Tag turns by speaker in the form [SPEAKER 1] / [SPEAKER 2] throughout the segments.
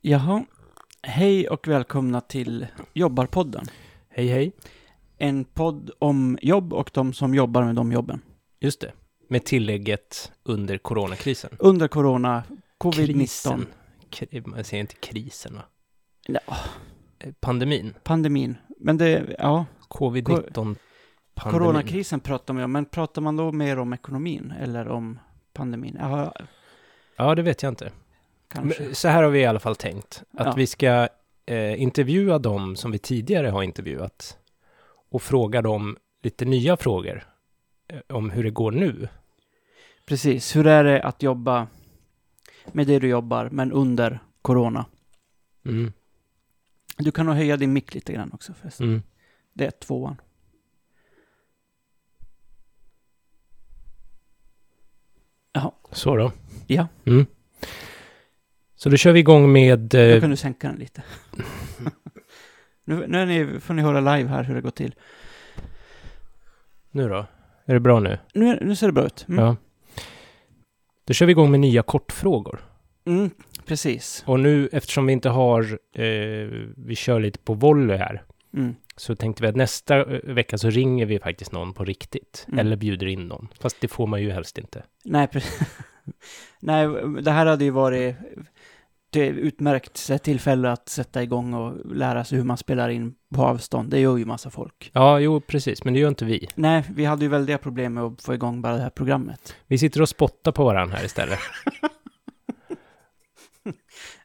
[SPEAKER 1] Jaha. Hej och välkomna till Jobbarpodden.
[SPEAKER 2] Hej hej.
[SPEAKER 1] En podd om jobb och de som jobbar med de jobben.
[SPEAKER 2] Just det. Med tillägget under coronakrisen.
[SPEAKER 1] Under corona, covid-19,
[SPEAKER 2] Krisen. Kri- Man säger inte krisen va?
[SPEAKER 1] Nej.
[SPEAKER 2] Eh, Pandemin.
[SPEAKER 1] pandemin. Men det, ja,
[SPEAKER 2] Covid-19. Pandemin.
[SPEAKER 1] coronakrisen pratar man ju om. Men pratar man då mer om ekonomin eller om pandemin? Ja,
[SPEAKER 2] Ja, det vet jag inte.
[SPEAKER 1] kanske.
[SPEAKER 2] Men så här har vi i alla fall tänkt. Att
[SPEAKER 1] Ja.
[SPEAKER 2] vi ska eh, intervjua dem som vi tidigare har intervjuat. Och fråga dem lite nya frågor. Eh, om hur det går nu.
[SPEAKER 1] Precis. Hur är det att jobba med det du jobbar, men under corona?
[SPEAKER 2] Mm.
[SPEAKER 1] Du kan nog höja din mick lite grann också förresten.
[SPEAKER 2] Mm.
[SPEAKER 1] Det är tvåan.
[SPEAKER 2] Så då.
[SPEAKER 1] Ja.
[SPEAKER 2] Mm. Så då kör vi igång med... eh,
[SPEAKER 1] Då kan du sänka den lite. nu nu är ni, får ni höra live här hur det går till.
[SPEAKER 2] Nu då? Är det bra nu?
[SPEAKER 1] Nu, nu ser det bra ut. Mm.
[SPEAKER 2] Ja. Då kör vi igång med nya kortfrågor.
[SPEAKER 1] Mm, precis.
[SPEAKER 2] Och nu, eftersom vi inte har... Eh, vi kör lite på volley här.
[SPEAKER 1] Mm.
[SPEAKER 2] Så tänkte vi att nästa eh, vecka så ringer vi faktiskt någon på riktigt.
[SPEAKER 1] Mm.
[SPEAKER 2] Eller bjuder in någon. Fast det får man ju helst inte.
[SPEAKER 1] Nej, pre- Nej, det här hade ju varit det är ett utmärkt tillfälle att sätta igång och lära sig hur man spelar in på avstånd. Det gör ju massa folk.
[SPEAKER 2] Ja, jo, precis. Men det gör inte vi.
[SPEAKER 1] Nej, vi hade ju väldiga problem med att få igång bara det här programmet.
[SPEAKER 2] Vi sitter och spottar på varandra här istället.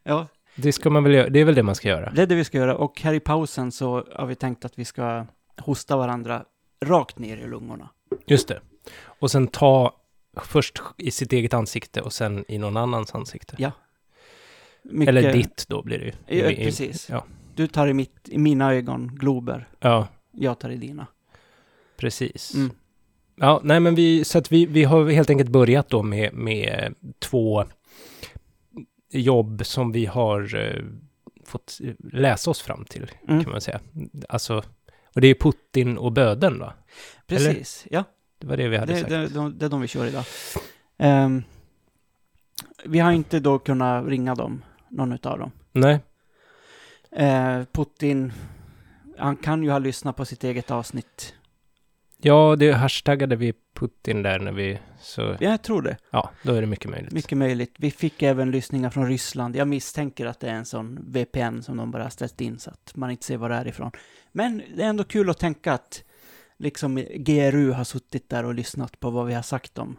[SPEAKER 1] Ja,
[SPEAKER 2] Det ska man väl göra. Det är väl det man ska göra.
[SPEAKER 1] det är det vi ska göra. Och här i pausen så har vi tänkt att vi ska hosta varandra rakt ner i lungorna.
[SPEAKER 2] Just det. Och sen ta först i sitt eget ansikte och sen i någon annans ansikte.
[SPEAKER 1] Ja, Mycket-
[SPEAKER 2] Eller ditt då blir det ju.
[SPEAKER 1] Ja,
[SPEAKER 2] I- i-
[SPEAKER 1] precis.
[SPEAKER 2] ja.
[SPEAKER 1] Du tar i, mitt, i mina ögon glober,
[SPEAKER 2] Ja,
[SPEAKER 1] jag tar i dina.
[SPEAKER 2] precis.
[SPEAKER 1] Mm.
[SPEAKER 2] Ja, nej men vi, så att vi, vi har helt enkelt börjat då med, med två jobb som vi har eh, fått eh, läsa oss fram till,
[SPEAKER 1] Mm.
[SPEAKER 2] kan man säga. Alltså, och det är Putin och böden va?
[SPEAKER 1] Precis, ja.
[SPEAKER 2] Det var det vi hade
[SPEAKER 1] Det,
[SPEAKER 2] sagt.
[SPEAKER 1] det, de, det är de vi kör idag. Ehm, vi har inte då kunnat ringa dem, någon utav dem.
[SPEAKER 2] Nej,
[SPEAKER 1] Eh, Putin, han kan ju ha lyssnat på sitt eget avsnitt.
[SPEAKER 2] ja, det hashtaggade vi Putin där när vi, så
[SPEAKER 1] Jag tror det,
[SPEAKER 2] ja, då är det mycket möjligt.
[SPEAKER 1] mycket möjligt. Vi fick även lyssningar från Ryssland. Jag misstänker att det är en sån VPN som de bara har ställt in så att man inte ser var det är ifrån. Men det är ändå kul att tänka att liksom GRU har suttit där och lyssnat på vad vi har sagt om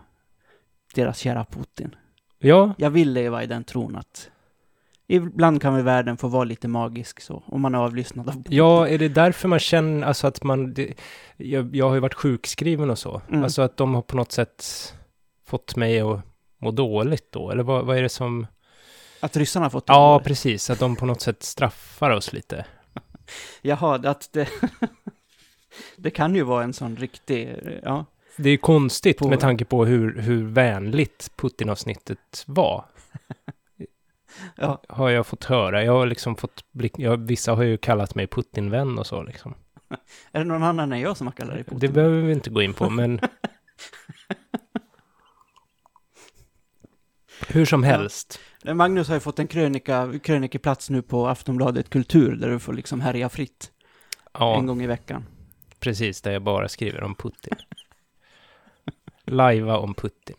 [SPEAKER 1] deras kära Putin.
[SPEAKER 2] Ja,
[SPEAKER 1] Jag vill leva i den tron att ibland kan väl världen få vara lite magisk så, om man är avlyssnad av
[SPEAKER 2] Ja, är det därför man känner, alltså att man, det, jag, jag har ju varit sjukskriven och så,
[SPEAKER 1] Mm.
[SPEAKER 2] alltså att de har på något sätt fått mig att må dåligt då, eller vad, vad är det som,
[SPEAKER 1] att ryssarna har fått det.
[SPEAKER 2] ja precis, att de på något sätt straffar oss lite.
[SPEAKER 1] Jaha, det- att det... det kan ju vara en sån riktig, ja.
[SPEAKER 2] Det är ju konstigt
[SPEAKER 1] På-
[SPEAKER 2] med tanke på hur, hur vänligt Putin-avsnittet var.
[SPEAKER 1] Ja.
[SPEAKER 2] Har jag fått höra, jag har liksom fått blick, jag, vissa har ju kallat mig Putin-vän och så liksom.
[SPEAKER 1] Är det någon annan än jag som har kallat dig Putin?
[SPEAKER 2] Det behöver vi inte gå in på, men... Hur som helst.
[SPEAKER 1] Magnus har ju fått en krönika, krönikeplats nu på Aftonbladet Kultur där du får liksom härja fritt
[SPEAKER 2] Ja,
[SPEAKER 1] en gång i veckan.
[SPEAKER 2] precis, där jag bara skriver om Putin. Lajva om Putin.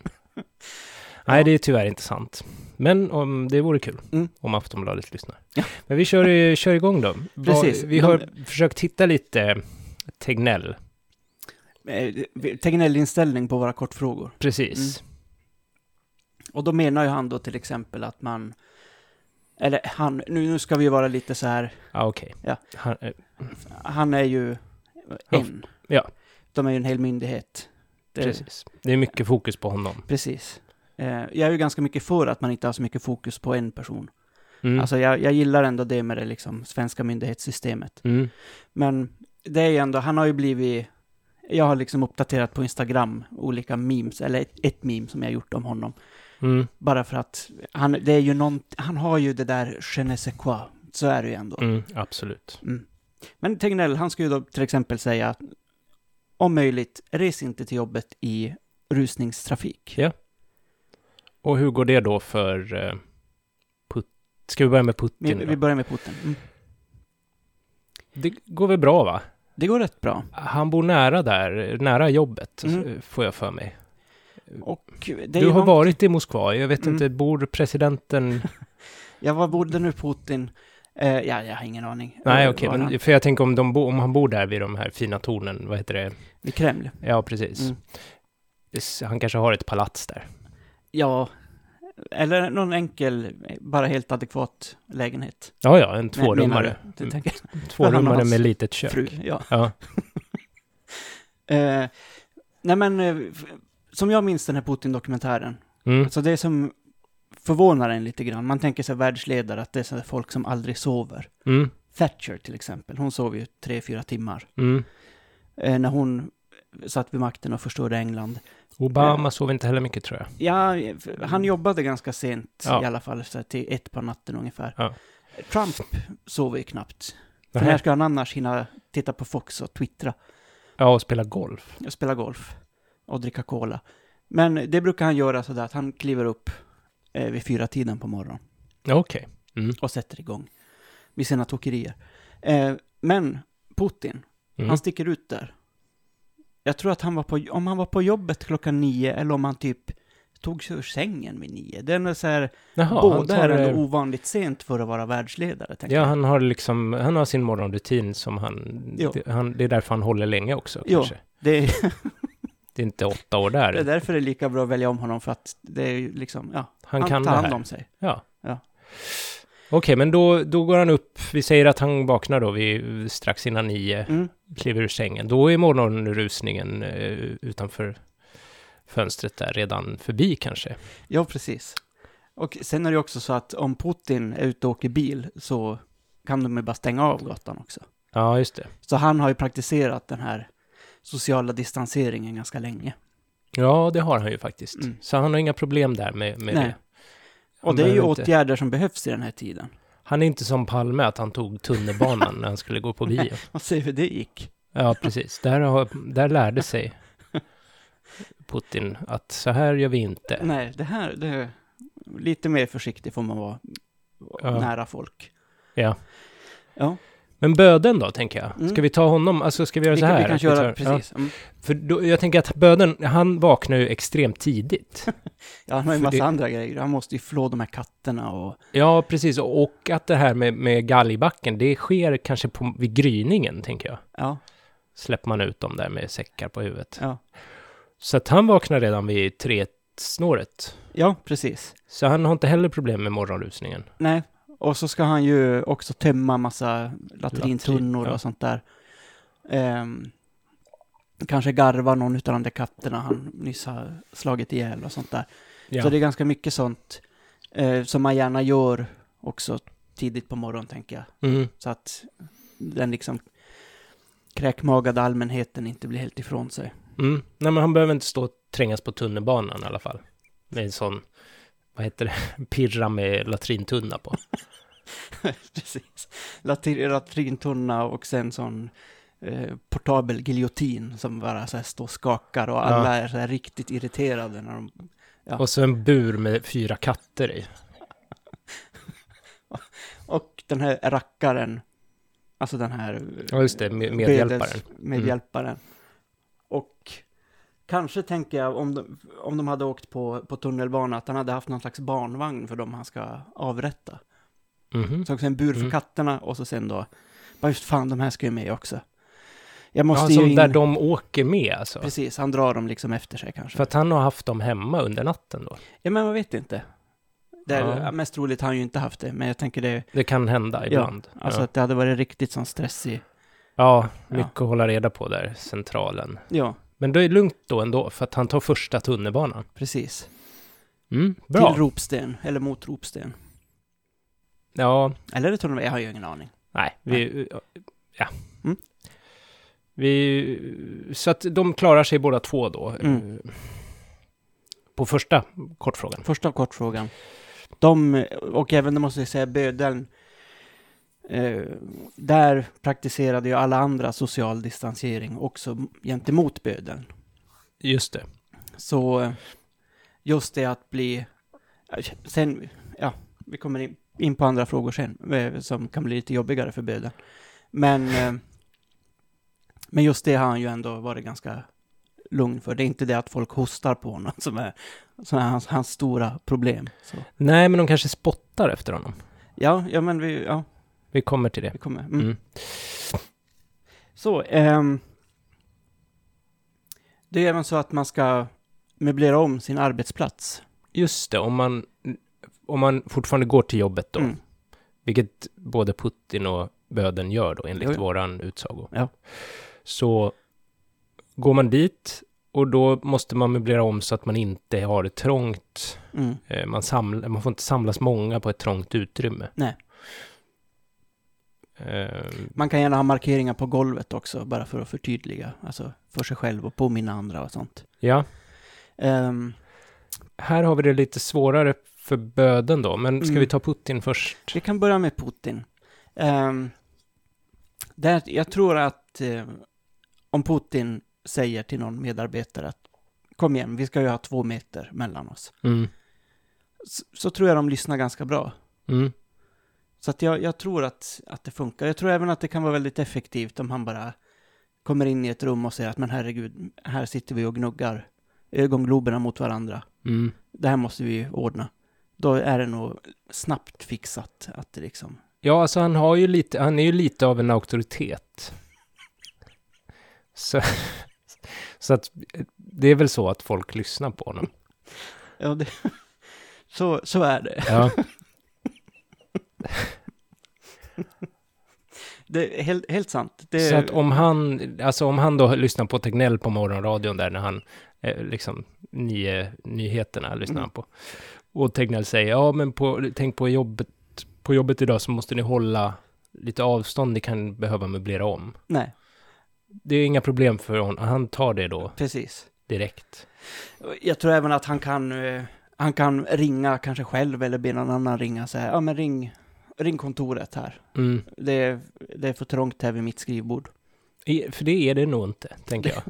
[SPEAKER 2] Nej, det är tyvärr inte sant. Men om, det vore kul
[SPEAKER 1] Mm.
[SPEAKER 2] om Aftonbladet lyssnar.
[SPEAKER 1] Ja.
[SPEAKER 2] Men vi kör, i- kör igång då. Vad-
[SPEAKER 1] Precis.
[SPEAKER 2] Vi har försökt hitta lite Tegnell.
[SPEAKER 1] Eh, Tegnell-inställning på våra kortfrågor.
[SPEAKER 2] Precis.
[SPEAKER 1] Mm. Och då menar ju han då till exempel att man, eller han, nu, nu ska vi ju vara lite så här,
[SPEAKER 2] Ja, okej.
[SPEAKER 1] Ja.
[SPEAKER 2] Han- eh,
[SPEAKER 1] han är ju
[SPEAKER 2] Ja,
[SPEAKER 1] en.
[SPEAKER 2] ja.
[SPEAKER 1] De är ju en hel myndighet. Det,
[SPEAKER 2] Precis. Det är mycket fokus på honom.
[SPEAKER 1] Precis. Eh, jag är ju ganska mycket för att man inte har så mycket fokus på en person.
[SPEAKER 2] Mm.
[SPEAKER 1] Alltså jag, jag gillar ändå det med det liksom svenska myndighetssystemet.
[SPEAKER 2] Mm.
[SPEAKER 1] Men det är ju ändå, han har ju blivit, jag har liksom uppdaterat på Instagram olika memes, eller ett, ett meme som jag gjort om honom.
[SPEAKER 2] Mm.
[SPEAKER 1] Bara för att han, det är ju någon, han har ju det där je ne sais quoi. Så är det ju ändå.
[SPEAKER 2] Mm. Absolut.
[SPEAKER 1] Mm. Men Tegnell, han skulle ju då till exempel säga att om möjligt, res inte till jobbet i rusningstrafik.
[SPEAKER 2] Ja. Och hur går det då för eh, Ska vi börja med
[SPEAKER 1] Vi,
[SPEAKER 2] Putin? då?
[SPEAKER 1] vi börjar med Putin. Mm.
[SPEAKER 2] Det går väl bra, va?
[SPEAKER 1] Det går rätt bra.
[SPEAKER 2] Han bor nära där, nära jobbet,
[SPEAKER 1] Mm.
[SPEAKER 2] får jag för mig.
[SPEAKER 1] Och det är
[SPEAKER 2] Du
[SPEAKER 1] ju
[SPEAKER 2] har
[SPEAKER 1] någon-
[SPEAKER 2] varit i Moskva, jag vet
[SPEAKER 1] Mm.
[SPEAKER 2] inte, bor presidenten...
[SPEAKER 1] Ja, var bodde nu Putin? Eh, ja, jag har ingen aning.
[SPEAKER 2] Nej,
[SPEAKER 1] Eh,
[SPEAKER 2] okej,
[SPEAKER 1] var han?
[SPEAKER 2] men för jag tänker om, de bo, om han bor där vid de här fina tornen, vad heter det?
[SPEAKER 1] I Kreml?
[SPEAKER 2] Ja, precis.
[SPEAKER 1] Mm.
[SPEAKER 2] S- Han kanske har ett palats där.
[SPEAKER 1] Ja. Eller någon enkel, bara helt adekvat lägenhet.
[SPEAKER 2] Ja, ja, en
[SPEAKER 1] Nej,
[SPEAKER 2] tvårummare.
[SPEAKER 1] menar du? Du tänker Han och
[SPEAKER 2] Tvårummare
[SPEAKER 1] hans
[SPEAKER 2] med litet kök.
[SPEAKER 1] fru, ja.
[SPEAKER 2] Mm. Ja.
[SPEAKER 1] Eh, nej men, eh, f- som jag minns den här Putin-dokumentären,
[SPEAKER 2] Mm.
[SPEAKER 1] så det är som förvånar en lite grann. Man tänker sig världsledare, att det är så här folk som aldrig sover.
[SPEAKER 2] Mm.
[SPEAKER 1] Thatcher till exempel, hon sov ju tre, fyra timmar.
[SPEAKER 2] Mm.
[SPEAKER 1] Eh, när hon satt vid makten och förstörde England.
[SPEAKER 2] Obama sov inte heller mycket, tror jag.
[SPEAKER 1] Ja, eh, f- han jobbade ganska sent
[SPEAKER 2] Ja.
[SPEAKER 1] i alla fall, så här, till ett på natten ungefär.
[SPEAKER 2] Ja.
[SPEAKER 1] Trump sover ju knappt. För
[SPEAKER 2] Nähä.
[SPEAKER 1] när ska han annars hinna titta på Fox och twittra?
[SPEAKER 2] Ja, och spela golf.
[SPEAKER 1] och spela golf och dricka cola. Men det brukar han göra sådär att han kliver upp eh, vid fyra tiden på morgonen
[SPEAKER 2] Ja, okej. Mm.
[SPEAKER 1] och sätter igång med sina tokerier. Eh, men Putin,
[SPEAKER 2] Mm.
[SPEAKER 1] han sticker ut där. Jag tror att han var på, om han var på jobbet klockan nio eller om han typ tog sig ur sängen vid nio. Den är så här,
[SPEAKER 2] Jaha, han
[SPEAKER 1] båda
[SPEAKER 2] tar,
[SPEAKER 1] är
[SPEAKER 2] eh,
[SPEAKER 1] ändå ovanligt sent för att vara världsledare. Tänker
[SPEAKER 2] Ja,
[SPEAKER 1] jag.
[SPEAKER 2] han har liksom, han har sin morgonrutin som han,
[SPEAKER 1] Jo.
[SPEAKER 2] det, han, det är därför han håller länge också
[SPEAKER 1] Jo.
[SPEAKER 2] kanske.
[SPEAKER 1] Det, är,
[SPEAKER 2] Det är inte åtta år där.
[SPEAKER 1] det är därför det är lika bra att välja om honom för att det är ju liksom, ja,
[SPEAKER 2] han, kan det
[SPEAKER 1] tar hand
[SPEAKER 2] här.
[SPEAKER 1] om sig.
[SPEAKER 2] Ja.
[SPEAKER 1] Ja.
[SPEAKER 2] Okej, men då, då går han upp, vi säger att han vaknar då vid, strax innan nio,
[SPEAKER 1] Mm.
[SPEAKER 2] kliver ur sängen. Då är morgonrusningen eh, utanför fönstret där redan förbi kanske.
[SPEAKER 1] Ja, precis. Och sen är det ju också så att om Putin är ute och åker bil så kan de ju bara stänga av gatan också.
[SPEAKER 2] Ja, just det.
[SPEAKER 1] Så han har ju praktiserat den här sociala distanseringen ganska länge.
[SPEAKER 2] Ja, det har han ju faktiskt.
[SPEAKER 1] Mm.
[SPEAKER 2] Så han har inga problem där med, med
[SPEAKER 1] Nej.
[SPEAKER 2] det.
[SPEAKER 1] Och
[SPEAKER 2] Han
[SPEAKER 1] det är ju
[SPEAKER 2] behöver inte-
[SPEAKER 1] åtgärder som behövs i den här tiden.
[SPEAKER 2] Han är inte som Palme, att han tog tunnelbanan när han skulle gå på bio.
[SPEAKER 1] Och se hur det gick.
[SPEAKER 2] Ja, precis. Där, har, där lärde sig Putin att så här gör vi inte.
[SPEAKER 1] Nej, det här, det är lite mer försiktig får man vara
[SPEAKER 2] Ja.
[SPEAKER 1] nära folk.
[SPEAKER 2] Ja.
[SPEAKER 1] Ja,
[SPEAKER 2] Men böden då, tänker jag.
[SPEAKER 1] Mm.
[SPEAKER 2] Ska vi ta honom? Alltså, ska vi göra
[SPEAKER 1] vi,
[SPEAKER 2] så
[SPEAKER 1] kan-
[SPEAKER 2] här?
[SPEAKER 1] vi kan
[SPEAKER 2] Att vi
[SPEAKER 1] köra
[SPEAKER 2] tar-
[SPEAKER 1] precis. Mm.
[SPEAKER 2] Ja, för då, jag tänker att böden, han vaknar ju extremt tidigt.
[SPEAKER 1] Ja, han har ju en
[SPEAKER 2] För
[SPEAKER 1] massa
[SPEAKER 2] det-
[SPEAKER 1] andra grejer. Han måste ju flå de här katterna och...
[SPEAKER 2] Ja, precis. Och att det här med, med galgbacken, det sker kanske på, vid gryningen, tänker jag.
[SPEAKER 1] Ja,
[SPEAKER 2] Släpper man ut dem där med säckar på huvudet.
[SPEAKER 1] ja.
[SPEAKER 2] Så att han vaknar redan vid tre-snåret.
[SPEAKER 1] ja precis.
[SPEAKER 2] Så han har inte heller problem med morgonrusningen.
[SPEAKER 1] Nej, och så ska han ju också tömma massa latrintunnor
[SPEAKER 2] Latrin, ja.
[SPEAKER 1] och sånt där. Ehm, kanske garva någon utav de där katterna han nyss har slagit ihjäl och sånt där.
[SPEAKER 2] Ja.
[SPEAKER 1] Så det är ganska mycket sånt eh, som man gärna gör också tidigt på morgonen, tänker jag.
[SPEAKER 2] Mm.
[SPEAKER 1] Så att den liksom kräkmagade allmänheten inte blir helt ifrån sig.
[SPEAKER 2] Mm. Nej, men han behöver inte stå och trängas på tunnelbanan i alla fall. Med en sån, vad heter det, pirra med latrintunna på.
[SPEAKER 1] Precis. Latin, latrintunna och sen sån eh, portabel giljotin som bara så här står och skakar och alla är så här riktigt irriterade när de... Ja.
[SPEAKER 2] Och så en bur med fyra katter i.
[SPEAKER 1] Och den här rackaren, alltså den här... eh,
[SPEAKER 2] Ja, just det, med, medhjälparen. Mm.
[SPEAKER 1] bedes- Medhjälparen. Och kanske tänker jag om de, om de hade åkt på, på tunnelbana att han hade haft någon slags barnvagn för dem han ska avrätta.
[SPEAKER 2] Mhm.
[SPEAKER 1] Så också en bur för
[SPEAKER 2] Mm.
[SPEAKER 1] katterna och så sen då, bara just fan de här ska ju med också. Jag måste
[SPEAKER 2] Ja,
[SPEAKER 1] ju
[SPEAKER 2] som
[SPEAKER 1] in...
[SPEAKER 2] där de åker med alltså.
[SPEAKER 1] Precis, han drar dem liksom efter sig kanske.
[SPEAKER 2] För att han har haft dem hemma under natten då.
[SPEAKER 1] Ja, men man vet inte. Det är,
[SPEAKER 2] Ja.
[SPEAKER 1] Mest troligt har han ju inte haft det, men jag tänker det,
[SPEAKER 2] Det kan hända ibland.
[SPEAKER 1] alltså
[SPEAKER 2] ja.
[SPEAKER 1] att det hade varit riktigt sån stressig.
[SPEAKER 2] ja, mycket att hålla reda på där, centralen.
[SPEAKER 1] Ja,
[SPEAKER 2] Men det är lugnt då ändå, för att han tar första tunnelbanan.
[SPEAKER 1] precis.
[SPEAKER 2] Mm, bra.
[SPEAKER 1] Till Ropsten, eller mot Ropsten.
[SPEAKER 2] Ja,
[SPEAKER 1] Eller det tror jag, jag har ju ingen aning.
[SPEAKER 2] Nej, vi... eh, Ja.
[SPEAKER 1] Mm.
[SPEAKER 2] Vi... Så att de klarar sig båda två då. eh,
[SPEAKER 1] Mm.
[SPEAKER 2] På första kortfrågan.
[SPEAKER 1] Första kortfrågan. De, och även, det måste jag säga, bödeln. Eh, där praktiserade ju alla andra social distansering också gentemot bödeln.
[SPEAKER 2] Just det.
[SPEAKER 1] Så eh, just det att bli... Sen, ja, vi kommer in in på andra frågor sen, eh, som kan bli lite jobbigare för böden. Men, eh, men just det har han ju ändå varit ganska lugn för. Det är inte det att folk hostar på honom som är, som är hans, hans stora problem. Så.
[SPEAKER 2] Nej, men de kanske spottar efter honom.
[SPEAKER 1] Ja, ja men vi, ja,
[SPEAKER 2] Vi kommer till det.
[SPEAKER 1] vi kommer. Mm.
[SPEAKER 2] Mm.
[SPEAKER 1] Så, ehm, det är även så att man ska möblera om sin arbetsplats.
[SPEAKER 2] Just det, om man, om man fortfarande går till jobbet då,
[SPEAKER 1] Mm.
[SPEAKER 2] vilket både Putin och böden gör då enligt
[SPEAKER 1] Jo, ja.
[SPEAKER 2] våran utsago.
[SPEAKER 1] Ja.
[SPEAKER 2] Så går man dit och då måste man möblera om så att man inte har det trångt.
[SPEAKER 1] Mm.
[SPEAKER 2] Eh, Man, samla, man får inte samlas många på ett trångt utrymme.
[SPEAKER 1] Nej.
[SPEAKER 2] Eh,
[SPEAKER 1] Man kan gärna ha markeringar på golvet också, bara för att förtydliga, alltså för sig själv och påminna andra och sånt.
[SPEAKER 2] ja,
[SPEAKER 1] Ehm,
[SPEAKER 2] här har vi det lite svårare för böden då, men ska
[SPEAKER 1] Mm.
[SPEAKER 2] vi ta Putin först?
[SPEAKER 1] vi kan börja med Putin. Ehm, där, jag tror att eh, om Putin säger till någon medarbetare att kom igen, vi ska ju ha två meter mellan oss,
[SPEAKER 2] Mm.
[SPEAKER 1] så, så tror jag de lyssnar ganska bra.
[SPEAKER 2] Mm.
[SPEAKER 1] Så att jag, jag tror att, att det funkar. Jag tror även att det kan vara väldigt effektivt om han bara kommer in i ett rum och säger att men herregud, här sitter vi och gnuggar ögongloberna mot varandra.
[SPEAKER 2] Mm.
[SPEAKER 1] det här måste vi ordna. Då är det nog snabbt fixat att det liksom...
[SPEAKER 2] Ja, alltså han har ju lite, han är ju lite av en auktoritet. Så, så att eh, det är väl så att folk lyssnar på honom.
[SPEAKER 1] Ja, det... så, så är det.
[SPEAKER 2] Ja,
[SPEAKER 1] det är helt, helt sant. Det...
[SPEAKER 2] så att om han, alltså om han då lyssnar på Tegnell på morgonradion där när han, eh, liksom, nio, nyheterna lyssnar han på. Och Tegnell säger, ja men på, tänk på jobbet, på jobbet idag så måste ni hålla lite avstånd, ni kan behöva möblera om.
[SPEAKER 1] Nej,
[SPEAKER 2] Det är inga problem för honom, han tar det då
[SPEAKER 1] precis.
[SPEAKER 2] direkt.
[SPEAKER 1] Jag tror även att han kan, eh, han kan ringa kanske själv eller be någon annan ringa så här, ja men ring, ring kontoret här.
[SPEAKER 2] Mm.
[SPEAKER 1] Det är, det är för trångt här vid mitt skrivbord.
[SPEAKER 2] I- För det är det nog inte, tänker jag.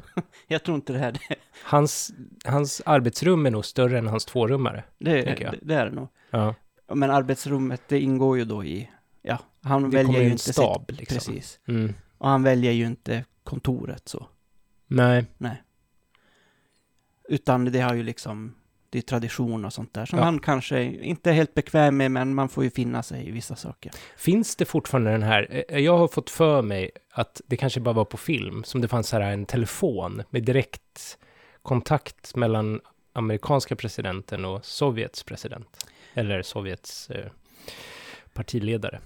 [SPEAKER 1] Jag tror inte det här, det,
[SPEAKER 2] Hans, hans arbetsrum är nog större än hans tvårummare.
[SPEAKER 1] det, det,
[SPEAKER 2] Tänker jag.
[SPEAKER 1] det är det nog.
[SPEAKER 2] Ja.
[SPEAKER 1] Men arbetsrummet, det ingår ju då i, ja, han
[SPEAKER 2] Det
[SPEAKER 1] väljer
[SPEAKER 2] kommer
[SPEAKER 1] ju
[SPEAKER 2] en
[SPEAKER 1] inte sitt-
[SPEAKER 2] stab, liksom.
[SPEAKER 1] Precis.
[SPEAKER 2] Mm.
[SPEAKER 1] Och han väljer ju inte kontoret så.
[SPEAKER 2] Nej,
[SPEAKER 1] Utan det har ju liksom, det är tradition och sånt där som
[SPEAKER 2] Ja.
[SPEAKER 1] han kanske inte är helt bekväm med, men man får ju finna sig i vissa saker.
[SPEAKER 2] finns det fortfarande den här, eh, jag har fått för mig att det kanske bara var på film, som det fanns så här en telefon med direkt kontakt mellan amerikanska presidenten och Sovjets president. Eller Sovjets eh, partiledare.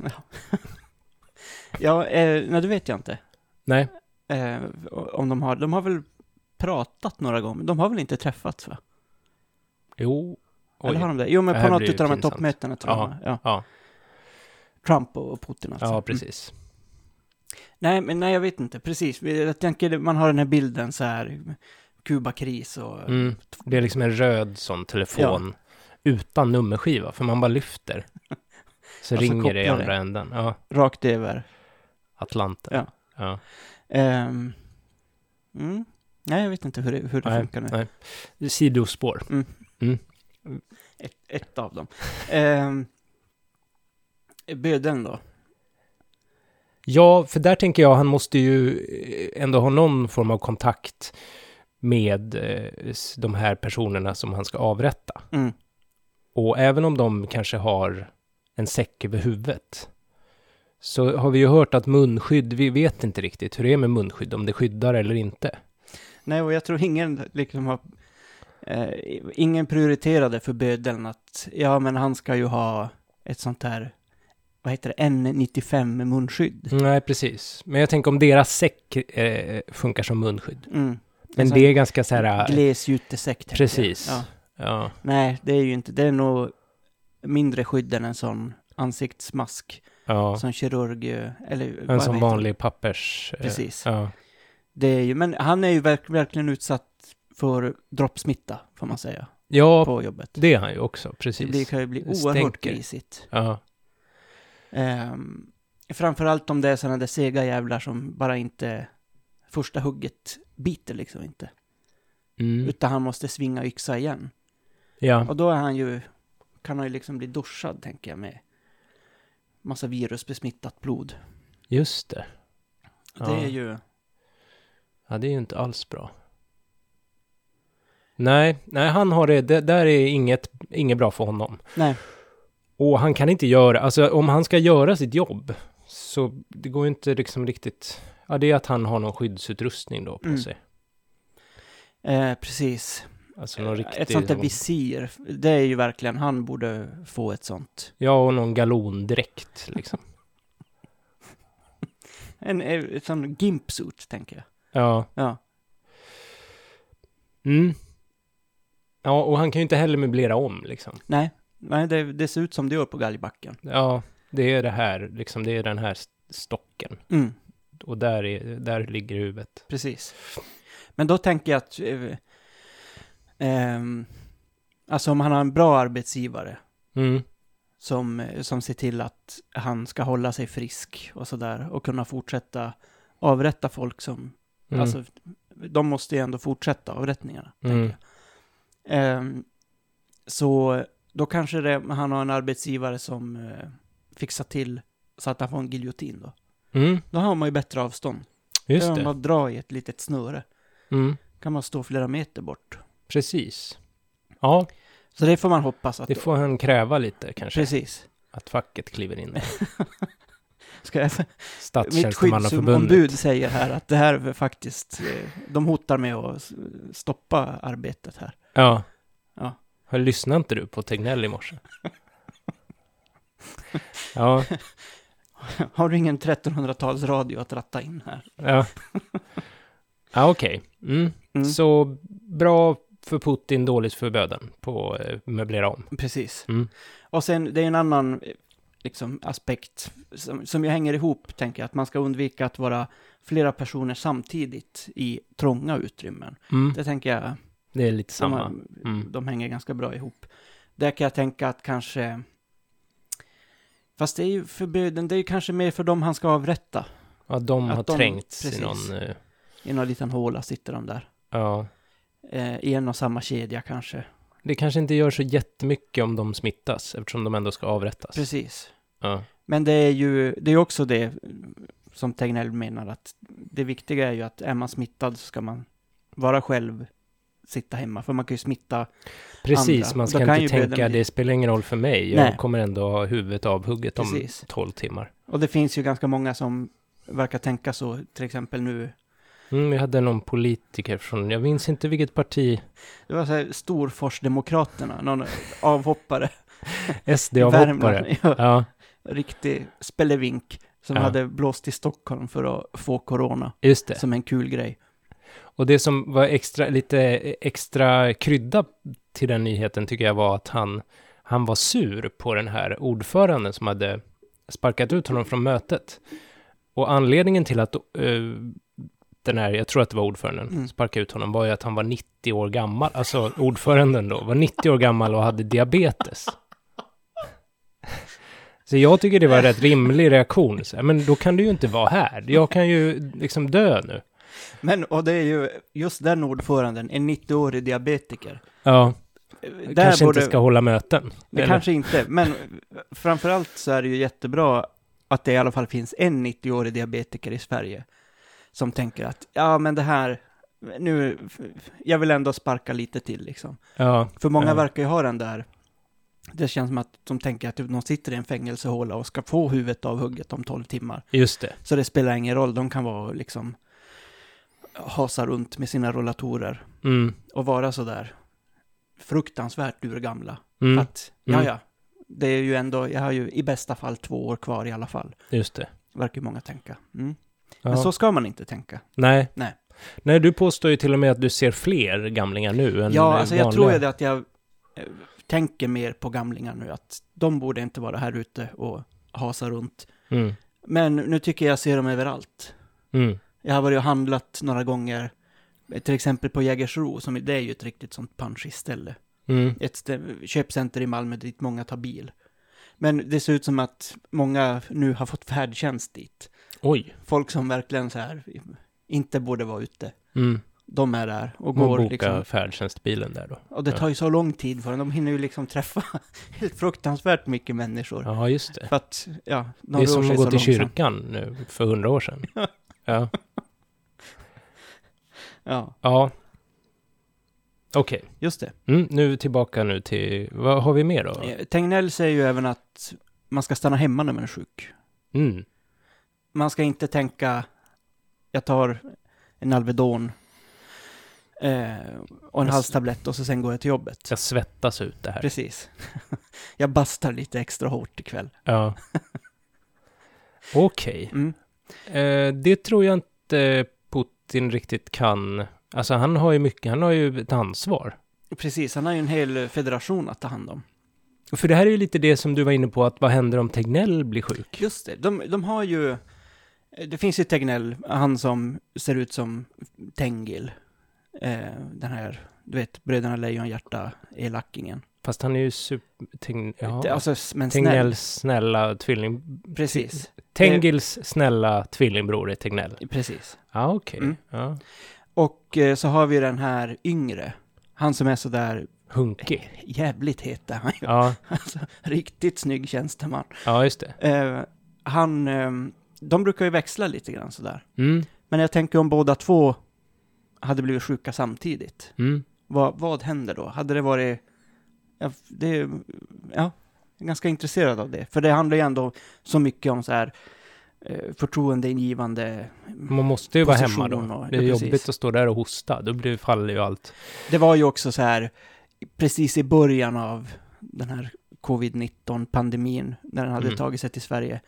[SPEAKER 1] Ja, eh, nej, det vet jag inte.
[SPEAKER 2] Nej,
[SPEAKER 1] Eh, om de har, de har väl pratat några gånger, de har väl inte träffats va?
[SPEAKER 2] jo,
[SPEAKER 1] Eller har
[SPEAKER 2] oj.
[SPEAKER 1] de det? Jo,
[SPEAKER 2] Det
[SPEAKER 1] men på
[SPEAKER 2] här
[SPEAKER 1] något
[SPEAKER 2] blir ju
[SPEAKER 1] utav de här
[SPEAKER 2] pinsamt.
[SPEAKER 1] toppmötena tror jag.
[SPEAKER 2] Ja.
[SPEAKER 1] Ja.
[SPEAKER 2] Ja,
[SPEAKER 1] Trump och och Putin alltså.
[SPEAKER 2] ja,
[SPEAKER 1] Mm.
[SPEAKER 2] precis.
[SPEAKER 1] Nej, men nej, jag vet inte, precis. Jag tänker, man har den här bilden så här, Kubakris och...
[SPEAKER 2] Mm. Det är liksom en röd sån telefon utan nummerskiva, för man bara lyfter. Så
[SPEAKER 1] Och så
[SPEAKER 2] ringer det i
[SPEAKER 1] Alltså, kopplar
[SPEAKER 2] andra änden. Ja,
[SPEAKER 1] Rakt över.
[SPEAKER 2] Atlanten.
[SPEAKER 1] Ja.
[SPEAKER 2] Ja.
[SPEAKER 1] Ehm, mm. Nej, jag vet inte hur det, hur det
[SPEAKER 2] Nej,
[SPEAKER 1] funkar nu.
[SPEAKER 2] nej. Sidospår.
[SPEAKER 1] Ett, ett av dem. Ehm, bödeln då?
[SPEAKER 2] Ja, för där tänker jag, han måste ju eh, ändå ha någon form av kontakt med eh, s- de här personerna som han ska avrätta.
[SPEAKER 1] Mm.
[SPEAKER 2] Och även om de kanske har en säck över huvudet, så har vi ju hört att munskydd, vi vet inte riktigt hur det är med munskydd, om det skyddar eller inte.
[SPEAKER 1] Nej, och jag tror ingen liksom har... Eh, ingen prioriterade för bödeln att ja, men han ska ju ha ett sånt här, vad heter det, N95 med munskydd.
[SPEAKER 2] Nej, precis. Men jag tänker om deras säck eh, funkar som munskydd.
[SPEAKER 1] Mm.
[SPEAKER 2] Men
[SPEAKER 1] Alltså,
[SPEAKER 2] det är ganska så här... äh,
[SPEAKER 1] Glesjutesäck. tänker jag.
[SPEAKER 2] Precis.
[SPEAKER 1] Ja.
[SPEAKER 2] Ja.
[SPEAKER 1] Nej, det är ju inte, det är nog mindre skydd än en sån ansiktsmask
[SPEAKER 2] ja.
[SPEAKER 1] som kirurg, eh, eller vad
[SPEAKER 2] En som
[SPEAKER 1] heter det?
[SPEAKER 2] vanlig pappers... eh,
[SPEAKER 1] Precis.
[SPEAKER 2] Ja.
[SPEAKER 1] Det är ju, men han är ju verk, verkligen utsatt för droppsmitta, får man säga,
[SPEAKER 2] ja,
[SPEAKER 1] på jobbet.
[SPEAKER 2] det är han ju också. Precis.
[SPEAKER 1] Det blir, kan ju bli
[SPEAKER 2] Det
[SPEAKER 1] oerhört
[SPEAKER 2] stänker.
[SPEAKER 1] grisigt.
[SPEAKER 2] Ja.
[SPEAKER 1] Ehm, framförallt om det är sådana där sega jävlar som bara inte, första hugget biter liksom inte.
[SPEAKER 2] Mm.
[SPEAKER 1] Utan han måste svinga yxa igen.
[SPEAKER 2] ja.
[SPEAKER 1] Och då är han ju, kan han ju liksom bli duschad tänker jag med massa virusbesmittat blod.
[SPEAKER 2] Just det. Ja.
[SPEAKER 1] Det är ju...
[SPEAKER 2] Ja, det är ju inte alls bra. Nej, nej, han har det, det där är inget, inget bra för honom.
[SPEAKER 1] Nej,
[SPEAKER 2] Och han kan inte göra, alltså om han ska göra sitt jobb, så det går ju inte liksom riktigt, ja det är att han har någon skyddsutrustning då på
[SPEAKER 1] Mm.
[SPEAKER 2] sig.
[SPEAKER 1] eh, precis.
[SPEAKER 2] Alltså någon riktig...
[SPEAKER 1] ett sånt där
[SPEAKER 2] någon-
[SPEAKER 1] visir, det är ju verkligen, han borde få ett sånt.
[SPEAKER 2] Ja, och någon galondräkt liksom.
[SPEAKER 1] En, en sån gimpsuit, tänker jag.
[SPEAKER 2] Ja.
[SPEAKER 1] Ja.
[SPEAKER 2] Mm. Ja, och han kan ju inte heller möblera om liksom.
[SPEAKER 1] Nej, nej det, det ser ut som det gör på galgbacken.
[SPEAKER 2] Ja, det är det här, liksom det är den här st- stocken.
[SPEAKER 1] Mm,
[SPEAKER 2] Och där, är, där ligger huvudet.
[SPEAKER 1] precis. Men då tänker jag att... Eh, ehm, alltså om han har en bra arbetsgivare
[SPEAKER 2] Mm.
[SPEAKER 1] som, eh, som ser till att han ska hålla sig frisk och sådär och kunna fortsätta avrätta folk som
[SPEAKER 2] Mm.
[SPEAKER 1] Alltså, de måste ju ändå fortsätta avrättningarna.
[SPEAKER 2] Mm.
[SPEAKER 1] tänker jag. Ehm, så då kanske det, han har en arbetsgivare som eh, fixar till så att han får en giljotin då.
[SPEAKER 2] mm.
[SPEAKER 1] Då har man ju bättre avstånd.
[SPEAKER 2] Just
[SPEAKER 1] då kan
[SPEAKER 2] det.
[SPEAKER 1] man dra i ett litet snöre.
[SPEAKER 2] Mm.
[SPEAKER 1] kan man stå flera meter bort.
[SPEAKER 2] Precis. Ja,
[SPEAKER 1] Så det får man hoppas att...
[SPEAKER 2] det får han kräva lite kanske.
[SPEAKER 1] Precis.
[SPEAKER 2] Att facket kliver in.
[SPEAKER 1] Ska jag, mitt
[SPEAKER 2] Statstjänstemannaförbundet.
[SPEAKER 1] skyddsombud säger här att det här är faktiskt... eh, De hotar med att s- stoppa arbetet här.
[SPEAKER 2] Ja.
[SPEAKER 1] Ja.
[SPEAKER 2] Hör, Lyssnade inte du på Tegnell i morse? ja,
[SPEAKER 1] Har du ingen 1300-talsradio att ratta in här?
[SPEAKER 2] ja. Ja, okej. Mm.
[SPEAKER 1] Mm.
[SPEAKER 2] Så bra för Putin, dåligt för böden på eh, möblera om.
[SPEAKER 1] Precis.
[SPEAKER 2] Mm.
[SPEAKER 1] Och sen, det är en annan eh, liksom, aspekt som, som ju hänger ihop, tänker jag, att man ska undvika att vara flera personer samtidigt i trånga utrymmen.
[SPEAKER 2] Mm.
[SPEAKER 1] Det tänker jag,
[SPEAKER 2] Det är lite
[SPEAKER 1] de,
[SPEAKER 2] samma.
[SPEAKER 1] har-
[SPEAKER 2] Mm.
[SPEAKER 1] de hänger ganska bra ihop. Där kan jag tänka att kanske, fast det är ju förbjuden, det är ju kanske mer för dem han ska avrätta.
[SPEAKER 2] Ja, de
[SPEAKER 1] att
[SPEAKER 2] har
[SPEAKER 1] de-
[SPEAKER 2] trängts
[SPEAKER 1] precis.
[SPEAKER 2] i någon... eh,
[SPEAKER 1] I någon liten håla sitter de där.
[SPEAKER 2] Ja.
[SPEAKER 1] Eh, I en och samma kedja kanske.
[SPEAKER 2] Det kanske inte gör så jättemycket om de smittas, eftersom de ändå ska avrättas.
[SPEAKER 1] Precis.
[SPEAKER 2] Ja.
[SPEAKER 1] Men det är ju det är också det eh, som Tegnell menar att det viktiga är ju att är man smittad så ska man vara själv, sitta hemma, för man kan ju smitta.
[SPEAKER 2] Precis,
[SPEAKER 1] Andra.
[SPEAKER 2] man
[SPEAKER 1] Då
[SPEAKER 2] ska
[SPEAKER 1] kan ju
[SPEAKER 2] inte tänka
[SPEAKER 1] böden bli-
[SPEAKER 2] det spelar ingen roll för mig, jag
[SPEAKER 1] Nej.
[SPEAKER 2] kommer ändå ha huvudet avhugget om
[SPEAKER 1] Precis.
[SPEAKER 2] 12 timmar.
[SPEAKER 1] Och det finns ju ganska många som verkar tänka så, till exempel nu.
[SPEAKER 2] Mm, jag hade någon politiker från, jag minns inte vilket parti,
[SPEAKER 1] Det var så här Storforsdemokraterna, någon avhoppare.
[SPEAKER 2] SD-avhoppare.
[SPEAKER 1] ja,
[SPEAKER 2] Ja,
[SPEAKER 1] riktig spelevink som
[SPEAKER 2] Ja.
[SPEAKER 1] hade blåst till Stockholm för att få corona
[SPEAKER 2] just det.
[SPEAKER 1] som en kul grej.
[SPEAKER 2] Och det som var extra, lite extra krydda till den nyheten tycker jag var att han, han var sur på den här ordföranden som hade sparkat ut honom från mötet. Och anledningen till att eh, den här, jag tror att det var ordföranden,
[SPEAKER 1] Mm.
[SPEAKER 2] sparkade ut honom var ju att han var 90 år gammal, alltså ordföranden då, var 90 år gammal och hade diabetes. Så jag tycker det var en rätt rimlig reaktion. Så, här, men då kan du ju inte vara här. Jag kan ju liksom dö nu.
[SPEAKER 1] Men, och det är ju just den ordföranden, en 90-årig diabetiker.
[SPEAKER 2] Ja.
[SPEAKER 1] Eh,
[SPEAKER 2] Vi
[SPEAKER 1] Där
[SPEAKER 2] kanske
[SPEAKER 1] borde,
[SPEAKER 2] inte ska hålla möten.
[SPEAKER 1] Det
[SPEAKER 2] Eller?
[SPEAKER 1] kanske inte, men framförallt så är det ju jättebra att det i alla fall finns en 90-årig diabetiker i Sverige som tänker att ja, men det här, nu, jag vill ändå sparka lite till liksom.
[SPEAKER 2] Ja,
[SPEAKER 1] För många
[SPEAKER 2] Ja.
[SPEAKER 1] verkar ju ha den där, det känns som att de tänker att de sitter i en fängelsehåla och ska få huvudet avhugget om 12 timmar.
[SPEAKER 2] just det.
[SPEAKER 1] Så det spelar ingen roll, de kan vara liksom, hasa runt med sina rollatorer
[SPEAKER 2] Mm.
[SPEAKER 1] och vara sådär fruktansvärt urgamla.
[SPEAKER 2] Mm.
[SPEAKER 1] För att, ja,
[SPEAKER 2] Mm.
[SPEAKER 1] ja. Det är ju ändå, jag har ju i bästa fall två år kvar i alla fall.
[SPEAKER 2] Just det.
[SPEAKER 1] Verkar ju många tänka. Mm.
[SPEAKER 2] Ja.
[SPEAKER 1] Men så ska man inte tänka.
[SPEAKER 2] Nej.
[SPEAKER 1] Nej.
[SPEAKER 2] Nej, du påstår ju till och med att du ser fler gamlingar nu än
[SPEAKER 1] ja, alltså jag
[SPEAKER 2] vanliga.
[SPEAKER 1] tror ju det att jag eh, tänker mer på gamlingar nu, att de borde inte vara här ute och hasa runt.
[SPEAKER 2] Mm.
[SPEAKER 1] Men nu tycker jag ser dem överallt.
[SPEAKER 2] Mm.
[SPEAKER 1] Jag har varit och handlat några gånger, eh, till exempel på Jägersro, som det är ju ett riktigt sånt punchigt ställe.
[SPEAKER 2] Mm.
[SPEAKER 1] ett stä- köpcenter i Malmö dit många tar bil. Men det ser ut som att många nu har fått färdtjänst dit.
[SPEAKER 2] Oj.
[SPEAKER 1] Folk som verkligen så här inte borde vara ute.
[SPEAKER 2] Mm.
[SPEAKER 1] de är där och
[SPEAKER 2] Man
[SPEAKER 1] går
[SPEAKER 2] bokar
[SPEAKER 1] liksom.
[SPEAKER 2] färdtjänstbilen där då.
[SPEAKER 1] Och det tar ju så lång tid för dem. De hinner ju liksom träffa helt fruktansvärt mycket människor.
[SPEAKER 2] Ja, just det.
[SPEAKER 1] För att, ja, de
[SPEAKER 2] det
[SPEAKER 1] rör
[SPEAKER 2] är som
[SPEAKER 1] sig
[SPEAKER 2] att
[SPEAKER 1] så
[SPEAKER 2] gå till
[SPEAKER 1] långsamt.
[SPEAKER 2] kyrkan nu, för hundra år sedan. ja.
[SPEAKER 1] Ja,
[SPEAKER 2] ja. Okej,
[SPEAKER 1] just det.
[SPEAKER 2] mm, nu tillbaka nu till, vad har vi mer då?
[SPEAKER 1] Eh, Tegnell säger ju även att man ska stanna hemma när man är sjuk.
[SPEAKER 2] Mm.
[SPEAKER 1] man ska inte tänka, jag tar en Alvedon eh, och en
[SPEAKER 2] Jag-
[SPEAKER 1] halstablett och så sen går jag till jobbet.
[SPEAKER 2] Jag svettas ut det här.
[SPEAKER 1] Precis. jag bastar lite extra hårt ikväll.
[SPEAKER 2] Ja. Okej.
[SPEAKER 1] Mm.
[SPEAKER 2] Eh, det tror jag inte Putin riktigt kan. Alltså han har ju mycket, han har ju ett ansvar.
[SPEAKER 1] Precis, han har ju en hel federation att ta hand om.
[SPEAKER 2] För det här är ju lite det som du var inne på, att vad händer om Tegnell blir sjuk?
[SPEAKER 1] Just det, de, de har ju, eh, det finns ju Tegnell, han som ser ut som Tengil, eh, den här, du vet, Bröderna Lejonhjärta, elackingen.
[SPEAKER 2] Fast han är ju super... Tegn, ja.
[SPEAKER 1] Alltså, s- men snäll.
[SPEAKER 2] Tegnells snälla tvilling...
[SPEAKER 1] Precis,
[SPEAKER 2] Tengils snälla tvillingbror är Tegnell.
[SPEAKER 1] precis.
[SPEAKER 2] Ja, okej.
[SPEAKER 1] Mm.
[SPEAKER 2] Ja.
[SPEAKER 1] Och eh, så har vi den här yngre. Han som är sådär
[SPEAKER 2] Hunkig.
[SPEAKER 1] jävligt het är han ju.
[SPEAKER 2] Ja.
[SPEAKER 1] Alltså, riktigt snygg tjänsteman.
[SPEAKER 2] ja, just det.
[SPEAKER 1] Eh, han, ehm, de brukar ju växla lite grann sådär.
[SPEAKER 2] Mm.
[SPEAKER 1] Men jag tänker om båda två hade blivit sjuka samtidigt.
[SPEAKER 2] Mm.
[SPEAKER 1] Vad, vad händer då? Hade det varit... Ja, det, ja, jag är ganska intresserad av det. För det handlar ju ändå så mycket om så här eh, förtroendeingivande
[SPEAKER 2] Man måste ju vara hemma
[SPEAKER 1] Position
[SPEAKER 2] då.
[SPEAKER 1] och-
[SPEAKER 2] Det är
[SPEAKER 1] ja, precis.
[SPEAKER 2] jobbigt att stå där och hosta. Då blir, faller ju allt.
[SPEAKER 1] Det var ju också så här, precis i början av den här covid-19-pandemin, när den hade
[SPEAKER 2] Mm.
[SPEAKER 1] tagit sig till Sverige,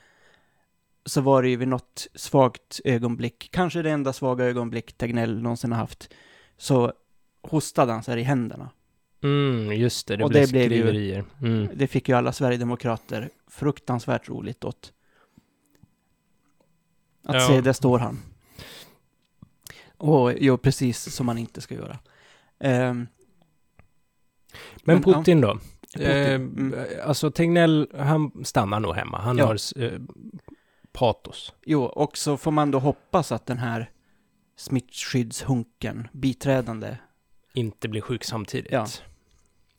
[SPEAKER 1] så var det ju vid något svagt ögonblick, kanske det enda svaga ögonblick Tegnell någonsin har haft, så hostade han så här i händerna.
[SPEAKER 2] Mm, just det. Det
[SPEAKER 1] Och
[SPEAKER 2] blir
[SPEAKER 1] det blev ju-
[SPEAKER 2] skriverier. Mm.
[SPEAKER 1] Det fick ju alla sverigedemokrater fruktansvärt roligt åt. Att
[SPEAKER 2] Ja.
[SPEAKER 1] se, där står han. Och gör precis som man inte ska göra. Ehm,
[SPEAKER 2] Men
[SPEAKER 1] Men, ja.
[SPEAKER 2] Putin då?
[SPEAKER 1] Putin,
[SPEAKER 2] Eh,
[SPEAKER 1] mm.
[SPEAKER 2] Alltså Tegnell, han stannar nog hemma. Han
[SPEAKER 1] Ja.
[SPEAKER 2] har s- eh, patos.
[SPEAKER 1] Jo, och så får man då hoppas att den här smittskyddshunken, biträdande,
[SPEAKER 2] Inte blir sjuk samtidigt.
[SPEAKER 1] Ja.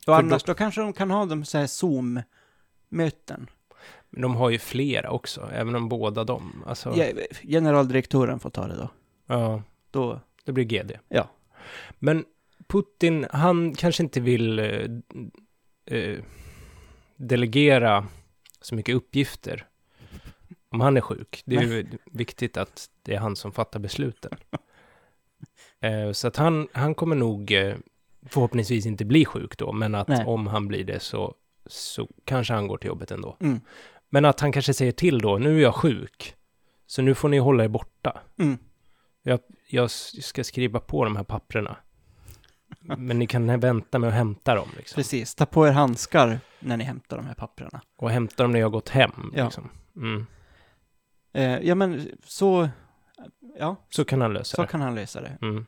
[SPEAKER 2] För
[SPEAKER 1] och annars då kanske de kan ha de så här Zoom-möten.
[SPEAKER 2] då- De har ju flera också, även om båda dem. Alltså,
[SPEAKER 1] Ja, generaldirektören får ta det då.
[SPEAKER 2] ja,
[SPEAKER 1] Då,
[SPEAKER 2] det blir GD.
[SPEAKER 1] Ja.
[SPEAKER 2] Men Putin, han kanske inte vill eh, eh, delegera så mycket uppgifter om han är sjuk. Det är ju viktigt att det är han som fattar besluten. Eh, så att han, han kommer nog eh, förhoppningsvis inte bli sjuk då, men att
[SPEAKER 1] Nej.
[SPEAKER 2] om han blir det så, så kanske han går till jobbet ändå.
[SPEAKER 1] Mm.
[SPEAKER 2] Men att han kanske säger till då, nu är jag sjuk, så nu får ni hålla er borta.
[SPEAKER 1] mm,
[SPEAKER 2] Jag s- ska skriva på de här papprena. Men ni kan vänta med att hämta dem. Liksom.
[SPEAKER 1] precis. Ta på er handskar när ni hämtar de här papperna.
[SPEAKER 2] Och hämta dem när jag har gått hem.
[SPEAKER 1] Ja.
[SPEAKER 2] Liksom. Mm.
[SPEAKER 1] Eh, ja, men så, ja,
[SPEAKER 2] Så kan han lösa
[SPEAKER 1] så
[SPEAKER 2] det.
[SPEAKER 1] kan han lösa det.
[SPEAKER 2] Mm.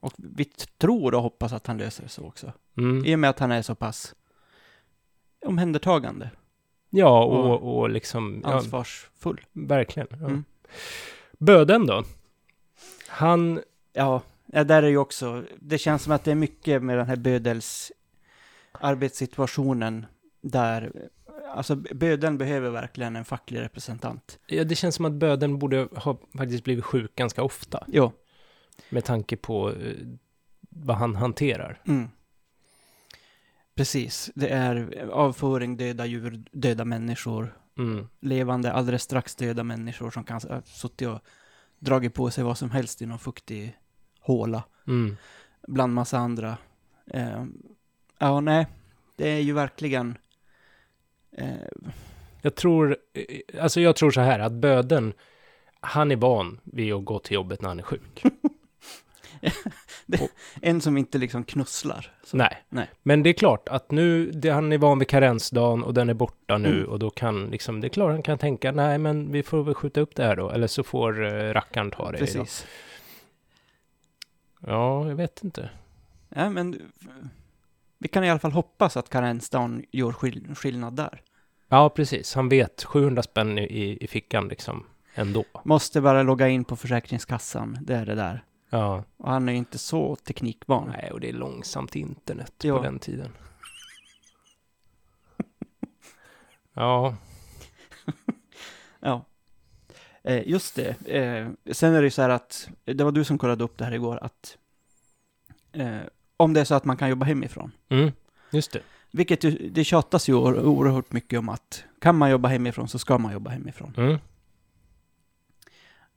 [SPEAKER 1] Och vi t- tror och hoppas att han löser det så också.
[SPEAKER 2] Mm.
[SPEAKER 1] I och med att han är så pass omhändertagande,
[SPEAKER 2] Ja, och, och liksom... Ja,
[SPEAKER 1] ansvarsfull.
[SPEAKER 2] verkligen. Ja.
[SPEAKER 1] Mm.
[SPEAKER 2] Böden då? Han...
[SPEAKER 1] Ja, ja, där är ju också, det känns som att det är mycket med den här Bödels arbetssituationen där, alltså Bödeln behöver verkligen en facklig representant.
[SPEAKER 2] Ja, det känns som att böden borde ha faktiskt blivit sjuk ganska ofta.
[SPEAKER 1] Jo,
[SPEAKER 2] Med tanke på eh, vad han hanterar.
[SPEAKER 1] mm. precis. Det är avföring, döda djur, döda människor,
[SPEAKER 2] Mm.
[SPEAKER 1] levande, alldeles strax döda människor som kan ha suttit och dragit på sig vad som helst i någon fuktig håla,
[SPEAKER 2] Mm.
[SPEAKER 1] bland massa andra. Eh, ja, nej, det är ju verkligen eh,
[SPEAKER 2] Jag tror... eh, Alltså jag tror så här att böden... Han är van vid att gå till jobbet när han är sjuk.
[SPEAKER 1] En som inte liksom knusslar. Så.
[SPEAKER 2] Nej.
[SPEAKER 1] Nej.
[SPEAKER 2] Men det är klart att nu, det, han är van vid karensdagen och den är borta nu
[SPEAKER 1] Mm.
[SPEAKER 2] och då kan liksom, det är klart han kan tänka, nej men vi får väl skjuta upp det här då, eller så får uh, rackaren ta det. idag.
[SPEAKER 1] Precis.
[SPEAKER 2] Ja, jag vet inte.
[SPEAKER 1] Ja, men eh, vi kan i alla fall hoppas att karensdagen gör skill- skillnad där.
[SPEAKER 2] Ja, precis. Han vet, 700 spänn i, i fickan liksom, ändå.
[SPEAKER 1] Måste bara logga in på Försäkringskassan, det är det där.
[SPEAKER 2] Ja.
[SPEAKER 1] Och han är ju inte så teknikvan.
[SPEAKER 2] Nej, och det är långsamt internet
[SPEAKER 1] Ja.
[SPEAKER 2] på den tiden. ja,
[SPEAKER 1] Ja. Eh, just det. Eh, sen är det ju så här att, det var du som kollade upp det här igår, att eh, om det är så att man kan jobba hemifrån,
[SPEAKER 2] mm, just det.
[SPEAKER 1] vilket ju, det tjatas ju or- oerhört mycket om att kan man jobba hemifrån så ska man jobba hemifrån.
[SPEAKER 2] Mm.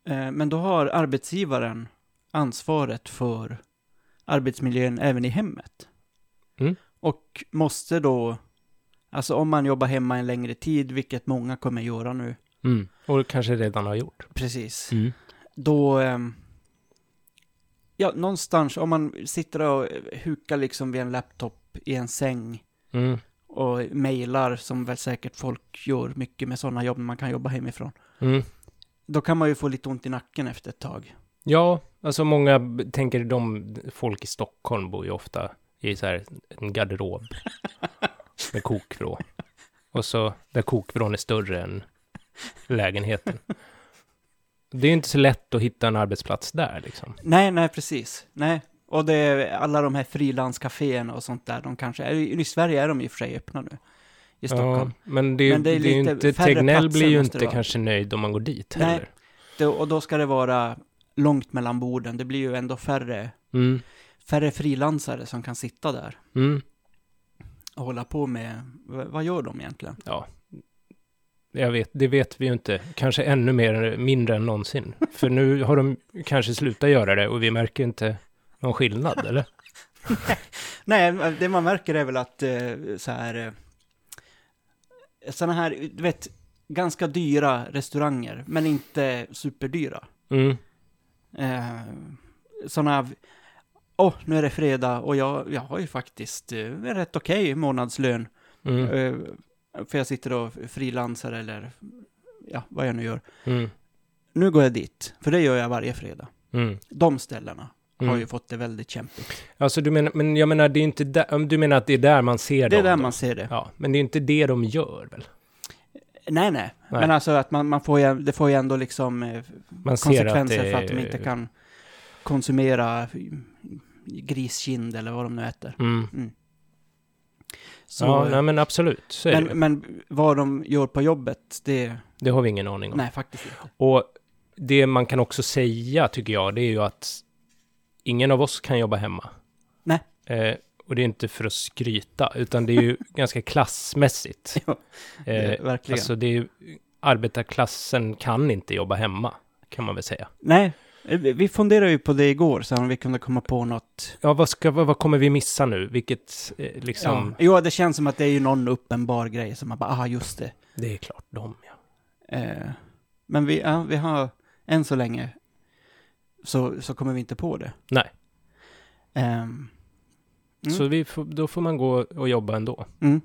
[SPEAKER 1] Eh, men då har arbetsgivaren ansvaret för arbetsmiljön även i hemmet.
[SPEAKER 2] Mm.
[SPEAKER 1] Och måste då, alltså om man jobbar hemma en längre tid, vilket många kommer göra nu,
[SPEAKER 2] Mm. Och kanske redan har gjort.
[SPEAKER 1] precis,
[SPEAKER 2] Mm.
[SPEAKER 1] då... ehm, Ja, någonstans om man sitter och hukar liksom vid en laptop i en säng
[SPEAKER 2] Mm.
[SPEAKER 1] och mejlar, som väl säkert folk gör mycket med sådana jobb när man kan jobba hemifrån.
[SPEAKER 2] Mm.
[SPEAKER 1] Då kan man ju få lite ont i nacken efter ett tag.
[SPEAKER 2] Ja, alltså många b- tänker de, folk i Stockholm bor ju ofta i så här en garderob med kokvrå. Och så där kokvrån är större än lägenheten. Det är ju inte så lätt att hitta en arbetsplats där liksom.
[SPEAKER 1] Nej, nej, precis. Nej. Och det är alla de här frilanscaféerna och sånt där, de kanske är, i Sverige är de i och för sig öppna nu. I Stockholm.
[SPEAKER 2] Ja, men det är,
[SPEAKER 1] Men
[SPEAKER 2] det är, ju
[SPEAKER 1] lite
[SPEAKER 2] inte,
[SPEAKER 1] färre
[SPEAKER 2] Tegnell
[SPEAKER 1] platser
[SPEAKER 2] blir ju
[SPEAKER 1] måste det
[SPEAKER 2] inte
[SPEAKER 1] vara.
[SPEAKER 2] kanske nöjd om man går dit
[SPEAKER 1] Nej.
[SPEAKER 2] heller.
[SPEAKER 1] Det, och då ska det vara långt mellan borden. Det blir ju ändå färre,
[SPEAKER 2] Mm,
[SPEAKER 1] färre frilansare som kan sitta där.
[SPEAKER 2] mm,
[SPEAKER 1] och hålla på med, v- vad gör de egentligen?
[SPEAKER 2] ja. Jag vet, det vet vi ju inte. Kanske ännu mer, mindre än någonsin. För nu har de kanske slutat göra det och vi märker inte någon skillnad, eller?
[SPEAKER 1] Nej, det man märker är väl att eh, så här, eh, sådana här, du vet, ganska dyra restauranger, men inte superdyra.
[SPEAKER 2] Mm,
[SPEAKER 1] Eh, sådana, åh, nu är det fredag och jag, jag har ju faktiskt eh, en rätt okej månadslön.
[SPEAKER 2] mm,
[SPEAKER 1] Eh, för jag sitter och frilansar eller, ja, vad jag nu gör.
[SPEAKER 2] mm,
[SPEAKER 1] Nu går jag dit, för det gör jag varje fredag.
[SPEAKER 2] mm.
[SPEAKER 1] De ställena har ju
[SPEAKER 2] mm.
[SPEAKER 1] fått det väldigt kämpigt.
[SPEAKER 2] Alltså, du menar, men jag menar, det är inte där, om du menar att det är där man ser
[SPEAKER 1] Det är
[SPEAKER 2] dem?
[SPEAKER 1] där
[SPEAKER 2] då?
[SPEAKER 1] man ser det.
[SPEAKER 2] Ja, men det är inte det de gör, väl?
[SPEAKER 1] Nej, nej.
[SPEAKER 2] Nej.
[SPEAKER 1] Men alltså att man, man får ju, det får ju ändå liksom eh,
[SPEAKER 2] Man ser att
[SPEAKER 1] konsekvenser
[SPEAKER 2] det
[SPEAKER 1] för att de inte kan konsumera griskind eller vad de nu äter.
[SPEAKER 2] Mm.
[SPEAKER 1] Så,
[SPEAKER 2] Ja,
[SPEAKER 1] eh,
[SPEAKER 2] nej, men absolut, så är det ju.
[SPEAKER 1] men, men vad de gör på jobbet, det...
[SPEAKER 2] Det har vi ingen aning om.
[SPEAKER 1] Nej, faktiskt inte.
[SPEAKER 2] Och det man kan också säga, tycker jag, det är ju att ingen av oss kan jobba hemma.
[SPEAKER 1] Nej.
[SPEAKER 2] Eh, och det är inte för att skryta, utan det är ju ganska klassmässigt.
[SPEAKER 1] Ja,
[SPEAKER 2] eh,
[SPEAKER 1] Eh, Verkligen.
[SPEAKER 2] alltså, det är ju, arbetarklassen kan inte jobba hemma, kan man väl säga.
[SPEAKER 1] Nej, eh, vi vi funderade ju på det igår, så om vi kunde komma på något.
[SPEAKER 2] Ja, vad, ska, vad, vad kommer vi missa nu? Vilket, eh, liksom,
[SPEAKER 1] Ja. Jo, det känns som att det är ju någon uppenbar grej som man bara, aha, just det.
[SPEAKER 2] det är klart de, ja.
[SPEAKER 1] Eh, men vi, ja, vi har, än så länge, så, så kommer vi inte på det.
[SPEAKER 2] Nej.
[SPEAKER 1] Ehm, Mm.
[SPEAKER 2] Så vi får, då får man gå och jobba ändå.
[SPEAKER 1] Mm.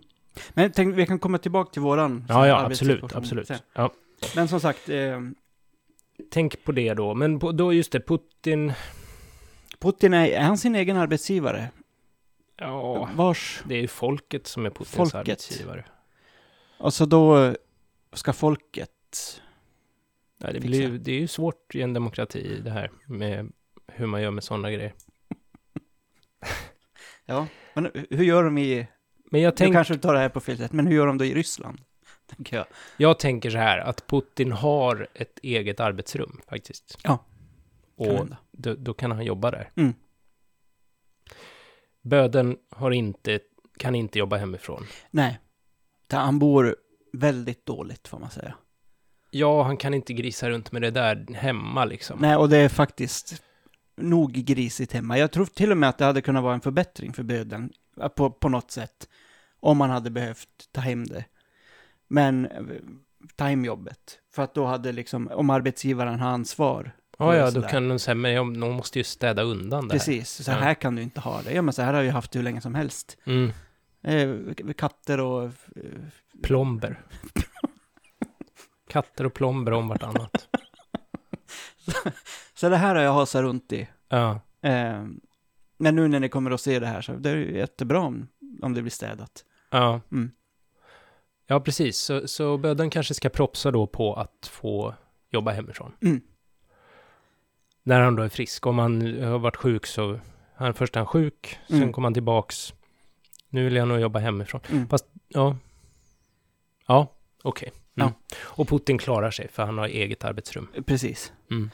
[SPEAKER 1] Men tänk, vi kan komma tillbaka till våran.
[SPEAKER 2] Ja, ja,
[SPEAKER 1] arbetssituation
[SPEAKER 2] absolut, absolut.
[SPEAKER 1] sen.
[SPEAKER 2] Ja.
[SPEAKER 1] Men som sagt, eh,
[SPEAKER 2] Tänk på det då, men på, då just det, Putin,
[SPEAKER 1] Putin är, är han sin egen arbetsgivare?
[SPEAKER 2] ja,
[SPEAKER 1] Vars?
[SPEAKER 2] det är ju folket som är Putins
[SPEAKER 1] Folket.
[SPEAKER 2] arbetsgivare.
[SPEAKER 1] Och så då eh, ska folket...
[SPEAKER 2] Ja, det,
[SPEAKER 1] fixa.
[SPEAKER 2] blir, ju- det är ju svårt i en demokrati det här med hur man gör med sådana grejer.
[SPEAKER 1] Ja, men hur gör de i...
[SPEAKER 2] Men jag,
[SPEAKER 1] Tänk...
[SPEAKER 2] tänk,
[SPEAKER 1] Nu kanske du tar det här på fel sätt, men hur gör de då i Ryssland? Tänker jag.
[SPEAKER 2] jag tänker så här, att Putin har ett eget arbetsrum faktiskt.
[SPEAKER 1] Ja. Kan
[SPEAKER 2] Och
[SPEAKER 1] hända.
[SPEAKER 2] då, då kan han jobba där.
[SPEAKER 1] Mm.
[SPEAKER 2] Böden har inte, kan inte jobba hemifrån.
[SPEAKER 1] Nej. Där han bor väldigt dåligt, får man säga.
[SPEAKER 2] Ja, han kan inte grisa runt med det där hemma liksom.
[SPEAKER 1] Nej, och det är faktiskt nog grisigt hemma. Jag tror till och med att det hade kunnat vara en förbättring för böden eh, på, på något sätt. Om man hade behövt ta hem det. Men eh, ta hem jobbet. För att då hade liksom, om arbetsgivaren har ansvar.
[SPEAKER 2] ja, ja,
[SPEAKER 1] och
[SPEAKER 2] då
[SPEAKER 1] sådär.
[SPEAKER 2] kan de säga, men jag- någon måste ju städa undan det här.
[SPEAKER 1] Precis, så
[SPEAKER 2] Ja.
[SPEAKER 1] här kan du inte ha det. Ja, men så här har vi haft hur länge som helst.
[SPEAKER 2] Mm.
[SPEAKER 1] Eh, katter och... eh,
[SPEAKER 2] Plomber. Katter och plomber om vartannat.
[SPEAKER 1] Så det här har jag hasat runt i.
[SPEAKER 2] Ja.
[SPEAKER 1] Eh, men nu när ni kommer att se det här så det är ju jättebra om, om det blir städat.
[SPEAKER 2] Ja.
[SPEAKER 1] Mm.
[SPEAKER 2] Ja, precis. Så, så böden kanske ska propsa då på att få jobba hemifrån.
[SPEAKER 1] Mm.
[SPEAKER 2] När han då är frisk. Om han har varit sjuk så, han, först är han sjuk, sen
[SPEAKER 1] Mm.
[SPEAKER 2] kom han tillbaks. Nu vill jag nog jobba hemifrån.
[SPEAKER 1] Mm.
[SPEAKER 2] Fast, ja. Ja, okej. Mm.
[SPEAKER 1] Ja.
[SPEAKER 2] Och Putin klarar sig för han har eget arbetsrum.
[SPEAKER 1] Precis.
[SPEAKER 2] Mm.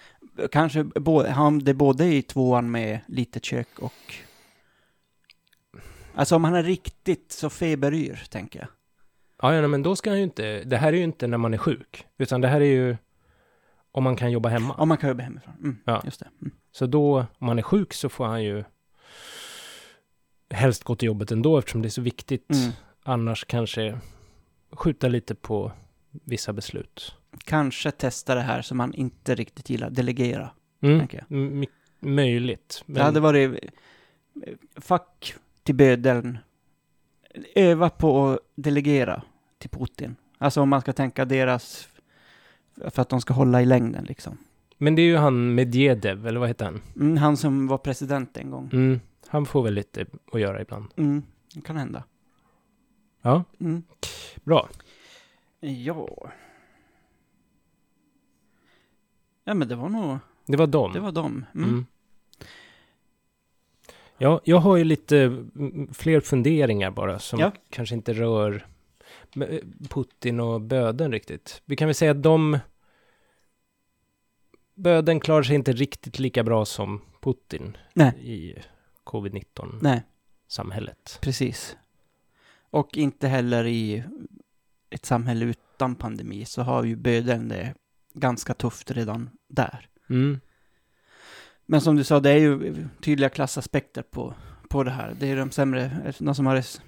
[SPEAKER 1] Kanske både, han, det är både i tvåan med litet kök och... Alltså om han är riktigt så feberyr, tänker jag.
[SPEAKER 2] Ja, ja, nej, men då ska han ju inte, det här är ju inte när man är sjuk, utan det här är ju om man kan jobba hemma.
[SPEAKER 1] Om man kan jobba hemifrån. Mm,
[SPEAKER 2] Ja.
[SPEAKER 1] Just det. Mm.
[SPEAKER 2] Så då, om man är sjuk så får han ju helst gå till jobbet ändå eftersom det är så viktigt.
[SPEAKER 1] Mm.
[SPEAKER 2] Annars kanske skjuta lite på vissa beslut.
[SPEAKER 1] Kanske testa det här som man inte riktigt gillar, delegera.
[SPEAKER 2] Mm.
[SPEAKER 1] Tänker
[SPEAKER 2] M- möjligt.
[SPEAKER 1] Det hade
[SPEAKER 2] Men,
[SPEAKER 1] varit... eh, Fuck till bödeln. Öva på att delegera till Putin. Alltså om man ska tänka deras... För att de ska hålla i längden liksom.
[SPEAKER 2] men det är ju han Medvedev, eller vad heter han?
[SPEAKER 1] Mm, han som var president en gång.
[SPEAKER 2] Mm. Han får väl lite att göra ibland.
[SPEAKER 1] Mm, det kan hända.
[SPEAKER 2] Ja,
[SPEAKER 1] Mm.
[SPEAKER 2] bra.
[SPEAKER 1] Ja. Ja men det var nog,
[SPEAKER 2] Det var dem.
[SPEAKER 1] det var dem. Mm.
[SPEAKER 2] Mm. Ja, jag har ju lite mm, fler funderingar bara som
[SPEAKER 1] Ja.
[SPEAKER 2] kanske inte rör eh, Putin och böden riktigt. Vi kan väl säga att de... Böden klarar sig inte riktigt lika bra som Putin
[SPEAKER 1] Nej.
[SPEAKER 2] i
[SPEAKER 1] Nej,
[SPEAKER 2] covid-19-samhället.
[SPEAKER 1] precis. Och inte heller i ett samhälle utan pandemi så har ju bödeln det ganska tufft redan där.
[SPEAKER 2] Mm.
[SPEAKER 1] Men som du sa, det är ju tydliga klassaspekter på, på det här. Det är de sämre, de som har det s-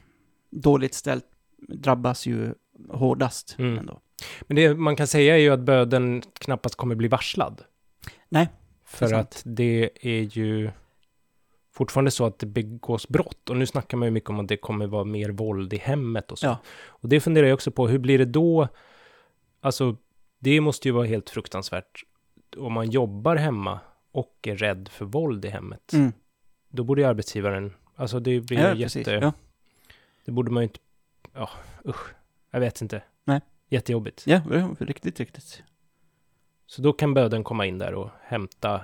[SPEAKER 1] dåligt ställt drabbas ju hårdast
[SPEAKER 2] Mm.
[SPEAKER 1] ändå.
[SPEAKER 2] Men det man kan säga är ju att böden knappast kommer bli varslad.
[SPEAKER 1] Nej,
[SPEAKER 2] För
[SPEAKER 1] sant.
[SPEAKER 2] att det är ju fortfarande så att det begås brott. Och nu snackar man ju mycket om att det kommer vara mer våld i hemmet och så.
[SPEAKER 1] Ja.
[SPEAKER 2] Och det funderar jag också på, hur blir det då? Alltså, det måste ju vara helt fruktansvärt. Om man jobbar hemma och är rädd för våld i hemmet,
[SPEAKER 1] Mm.
[SPEAKER 2] då borde ju arbetsgivaren, alltså det blir
[SPEAKER 1] Ja,
[SPEAKER 2] ju jätte...
[SPEAKER 1] precis. Ja.
[SPEAKER 2] Det borde man ju inte... Ja, usch. Jag vet inte.
[SPEAKER 1] Nej.
[SPEAKER 2] Jättejobbigt.
[SPEAKER 1] ja, det var riktigt, riktigt.
[SPEAKER 2] Så då kan böden komma in där och hämta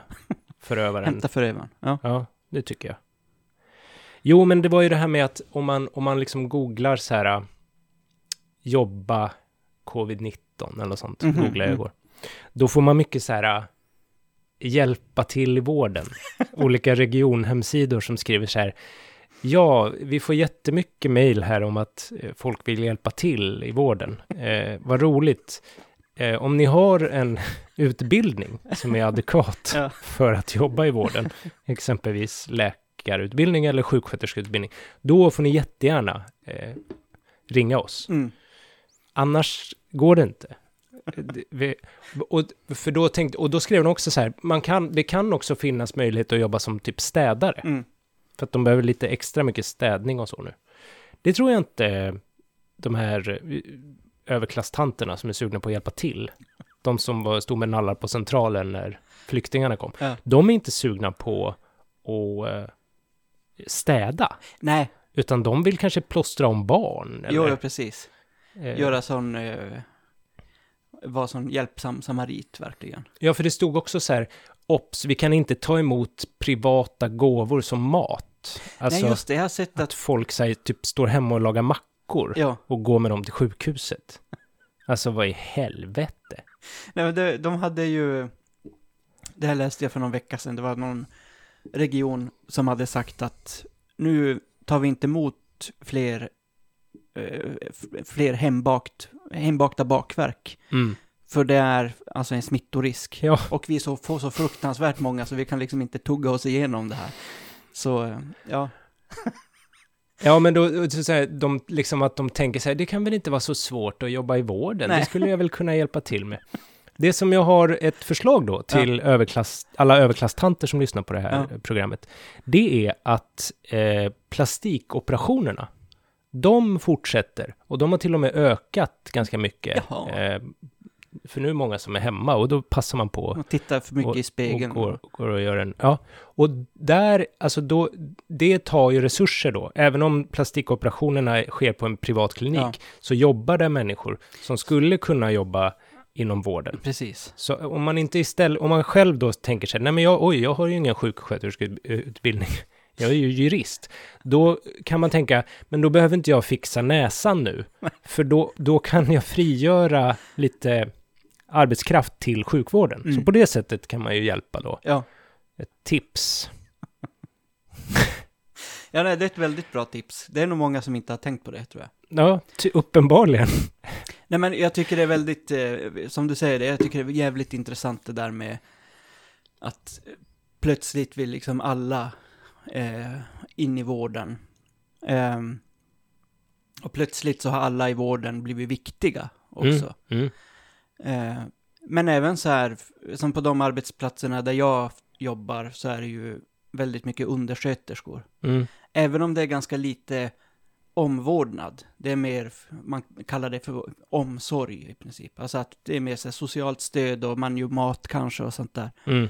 [SPEAKER 2] förövaren.
[SPEAKER 1] Hämta förövaren. Ja.
[SPEAKER 2] Ja, det tycker jag. Jo, men det var ju det här med att om man, om man liksom googlar så här äh, jobba covid-19 eller sånt,
[SPEAKER 1] Mhm,
[SPEAKER 2] googlade jag
[SPEAKER 1] mm.
[SPEAKER 2] igår, då får man mycket så här äh, hjälpa till i vården. Olika regionhemsidor som skriver så här, ja, vi får jättemycket mejl här om att eh, folk vill hjälpa till i vården. Eh, vad roligt. Eh, om ni har en utbildning som är adekvat
[SPEAKER 1] Ja.
[SPEAKER 2] för att jobba i vården, exempelvis läkarutbildning eller sjuksköterskeutbildning, då får ni jättegärna eh, ringa oss.
[SPEAKER 1] Mm.
[SPEAKER 2] Annars går det inte. Det- Vi, och, för då tänkte, och då skrev de också så här, man kan, det kan också finnas möjlighet att jobba som typ städare,
[SPEAKER 1] Mm.
[SPEAKER 2] för att de behöver lite extra mycket städning och så nu. Det tror jag inte de här eh, överklasstanterna som är sugna på att hjälpa till, de som var, stod med nallar på centralen när flyktingarna kom,
[SPEAKER 1] Ja.
[SPEAKER 2] de är inte sugna på att eh, städa,
[SPEAKER 1] Nej,
[SPEAKER 2] utan de vill kanske plåstra om barn.
[SPEAKER 1] jo,
[SPEAKER 2] Eller,
[SPEAKER 1] ja, precis.
[SPEAKER 2] eh,
[SPEAKER 1] Göra sån... Eh, vara sån hjälpsam samarit, verkligen.
[SPEAKER 2] Ja, för det stod också så här, ops, vi kan inte ta emot privata gåvor som mat. Alltså,
[SPEAKER 1] Nej, just det. Jag har sett
[SPEAKER 2] att
[SPEAKER 1] att...
[SPEAKER 2] folk så här, typ står hemma och lagar mackor
[SPEAKER 1] Ja,
[SPEAKER 2] och går med dem till sjukhuset. Alltså, vad i helvete?
[SPEAKER 1] nej, men det, de hade ju... Det här läste jag för någon vecka sedan. Det var någon region som hade sagt att nu tar vi inte emot fler, eh, f- fler hembakt, hembakta bakverk. För det är alltså en smittorisk.
[SPEAKER 2] Ja.
[SPEAKER 1] Och vi är så, får så fruktansvärt många så vi kan liksom inte tugga oss igenom det här. Så, eh, ja.
[SPEAKER 2] Ja, men då, så så här, de, liksom att de tänker så här, det kan väl inte vara så svårt att jobba i vården,
[SPEAKER 1] Nej.
[SPEAKER 2] det skulle jag väl kunna hjälpa till med. Det som jag har ett förslag då till överklass, alla överklasstanter som lyssnar på det här
[SPEAKER 1] Ja.
[SPEAKER 2] programmet, det är att eh, plastikoperationerna, de fortsätter och de har till och med ökat ganska mycket.
[SPEAKER 1] Jaha.
[SPEAKER 2] Eh, för nu är det många som är hemma och då passar man på
[SPEAKER 1] Man tittar för mycket
[SPEAKER 2] och,
[SPEAKER 1] i spegeln.
[SPEAKER 2] Och går, går och gör en, ja. Och där, alltså då, det tar ju resurser då. Även om plastikoperationerna sker på en privat klinik,
[SPEAKER 1] Ja.
[SPEAKER 2] så jobbar där människor som skulle kunna jobba inom vården.
[SPEAKER 1] Precis.
[SPEAKER 2] Så om man inte istället, om man själv då tänker sig, nej men jag, oj, jag har ju ingen sjuksköterskeutbildning, jag är ju jurist, då kan man tänka, men då behöver inte jag fixa näsan nu, för då, då kan jag frigöra lite arbetskraft till sjukvården. Så
[SPEAKER 1] Mm.
[SPEAKER 2] på det sättet kan man ju hjälpa då.
[SPEAKER 1] Ja.
[SPEAKER 2] Ett tips.
[SPEAKER 1] ja, nej, det är ett väldigt bra tips. Det är nog många som inte har tänkt på det, tror jag.
[SPEAKER 2] Ja, ty, uppenbarligen.
[SPEAKER 1] Nej, men jag tycker det är väldigt, eh, som du säger det, jag tycker det är jävligt intressant det där med att plötsligt vill liksom alla eh, in i vården. Ehm, och plötsligt så har alla i vården blivit viktiga också.
[SPEAKER 2] Mm.
[SPEAKER 1] Eh, men även så här, f- som på de arbetsplatserna där jag f- jobbar så är det ju väldigt mycket undersköterskor.
[SPEAKER 2] Mm.
[SPEAKER 1] Även om det är ganska lite omvårdnad, det är mer, f- man kallar det för omsorg i princip. Alltså att det är mer så här socialt stöd och man gör mat kanske och sånt där.
[SPEAKER 2] Mm.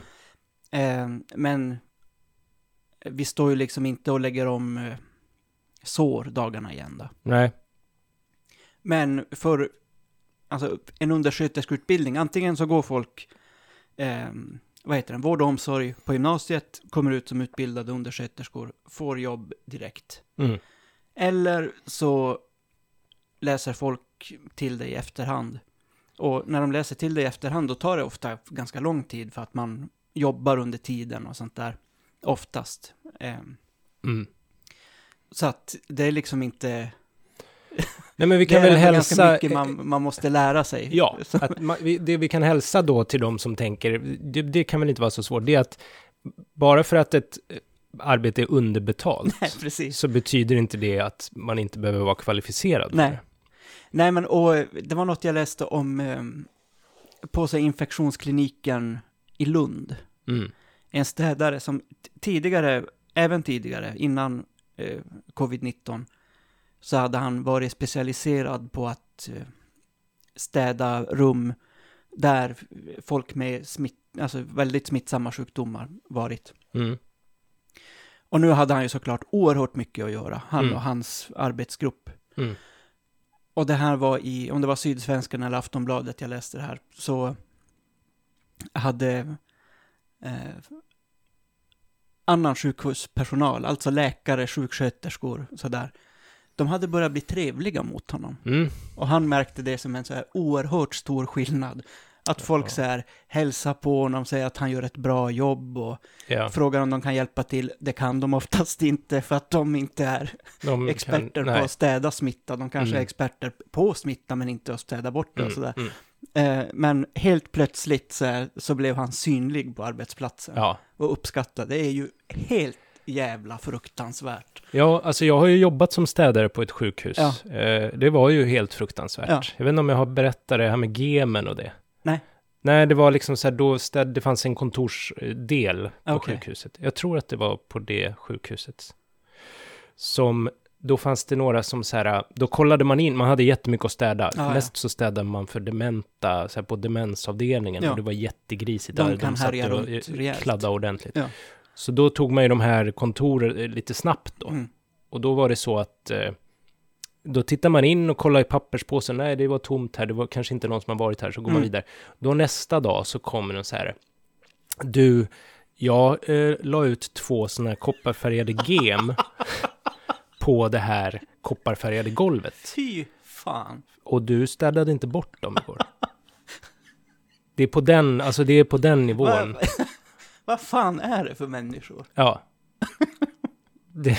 [SPEAKER 1] Eh, men vi står ju liksom inte och lägger om eh, sår dagarna igen då.
[SPEAKER 2] Nej.
[SPEAKER 1] Men för alltså, en undersköterskeutbildning, antingen så går folk, ehm, vad heter den, vård och omsorg på gymnasiet, kommer ut som utbildade undersköterskor, får jobb direkt.
[SPEAKER 2] Mm.
[SPEAKER 1] Eller så läser folk till dig i efterhand. Och när de läser till dig i efterhand, då tar det ofta ganska lång tid för att man jobbar under tiden och sånt där, oftast. Ehm,
[SPEAKER 2] Mm.
[SPEAKER 1] så att det är liksom inte...
[SPEAKER 2] Nej, men
[SPEAKER 1] Det
[SPEAKER 2] vi kan
[SPEAKER 1] är
[SPEAKER 2] väl
[SPEAKER 1] ändå ganska
[SPEAKER 2] hälsa...
[SPEAKER 1] mycket man, man måste lära sig.
[SPEAKER 2] Ja,
[SPEAKER 1] Så-
[SPEAKER 2] att ma- vi, det vi kan hälsa då till de som tänker, det, det kan väl inte vara så svårt, det är att bara för att ett eh, arbete är underbetalt
[SPEAKER 1] Nej, precis.
[SPEAKER 2] så betyder inte det att man inte behöver vara kvalificerad
[SPEAKER 1] Nej.
[SPEAKER 2] för det.
[SPEAKER 1] Nej, men och eh, det var något jag läste om eh, på sig infektionskliniken i Lund.
[SPEAKER 2] Mm.
[SPEAKER 1] En städare som t- tidigare, även tidigare, innan eh, covid-19, så hade han varit specialiserad på att eh, städa rum där folk med smitt, alltså väldigt smittsamma sjukdomar varit.
[SPEAKER 2] Mm.
[SPEAKER 1] Och nu hade han ju såklart oerhört mycket att göra, han
[SPEAKER 2] Mm.
[SPEAKER 1] och hans arbetsgrupp.
[SPEAKER 2] Mm.
[SPEAKER 1] Och det här var i, om det var Sydsvenskan eller Aftonbladet jag läste det här, så hade eh, annan sjukhuspersonal, alltså läkare, sjuksköterskor, sådär, de hade börjat bli trevliga mot honom.
[SPEAKER 2] Mm.
[SPEAKER 1] Och han märkte det som en så här oerhört stor skillnad. Att folk
[SPEAKER 2] Ja.
[SPEAKER 1] så här hälsar på honom, säger att han gör ett bra jobb och
[SPEAKER 2] Ja,
[SPEAKER 1] frågar om de kan hjälpa till. Det kan de oftast inte för att de inte är
[SPEAKER 2] de
[SPEAKER 1] experter
[SPEAKER 2] Mm, kan,
[SPEAKER 1] på
[SPEAKER 2] nej.
[SPEAKER 1] att städa smitta. De kanske är
[SPEAKER 2] Mm.
[SPEAKER 1] experter på smitta men inte att städa bort det och sådär.
[SPEAKER 2] Mm. Mm.
[SPEAKER 1] Eh, men helt plötsligt så, här, så blev han synlig på arbetsplatsen
[SPEAKER 2] Ja.
[SPEAKER 1] och uppskattad. Det är ju helt jävla fruktansvärt.
[SPEAKER 2] ja, alltså jag har ju jobbat som städare på ett sjukhus.
[SPEAKER 1] Ja.
[SPEAKER 2] Eh, det var ju helt fruktansvärt.
[SPEAKER 1] Ja.
[SPEAKER 2] Jag vet inte om jag har berättat det här med gemen och det.
[SPEAKER 1] Nej.
[SPEAKER 2] Nej, det var liksom så här, då städ, det fanns en kontorsdel på
[SPEAKER 1] Okej.
[SPEAKER 2] sjukhuset. Jag tror att det var på det sjukhuset. Som, då fanns det några som så här, då kollade man in, man hade jättemycket att städa.
[SPEAKER 1] Ja, ja.
[SPEAKER 2] Mest så städade man för dementa, så här på demensavdelningen.
[SPEAKER 1] Ja.
[SPEAKER 2] Och det var jättegrisigt.
[SPEAKER 1] De
[SPEAKER 2] där.
[SPEAKER 1] kan
[SPEAKER 2] satt
[SPEAKER 1] härja
[SPEAKER 2] och,
[SPEAKER 1] runt
[SPEAKER 2] eh,
[SPEAKER 1] rejält.
[SPEAKER 2] Kladda ordentligt.
[SPEAKER 1] Ja.
[SPEAKER 2] Så då tog man ju de här kontoren eh, lite snabbt då.
[SPEAKER 1] Mm.
[SPEAKER 2] Och då var det så att eh, då tittar man in och kollar i papperspåsen. Nej, det var tomt här. Det var kanske inte någon som har varit här. Så går man
[SPEAKER 1] Mm.
[SPEAKER 2] vidare. Då nästa dag så kommer de så här. Du, jag eh, la ut två sådana här kopparfärgade gem på det här kopparfärgade golvet.
[SPEAKER 1] Fy fan.
[SPEAKER 2] Och du städade inte bort dem igår. Det är på den, alltså det är på den nivån.
[SPEAKER 1] Vad vad fan är det för människor?
[SPEAKER 2] Ja. Det,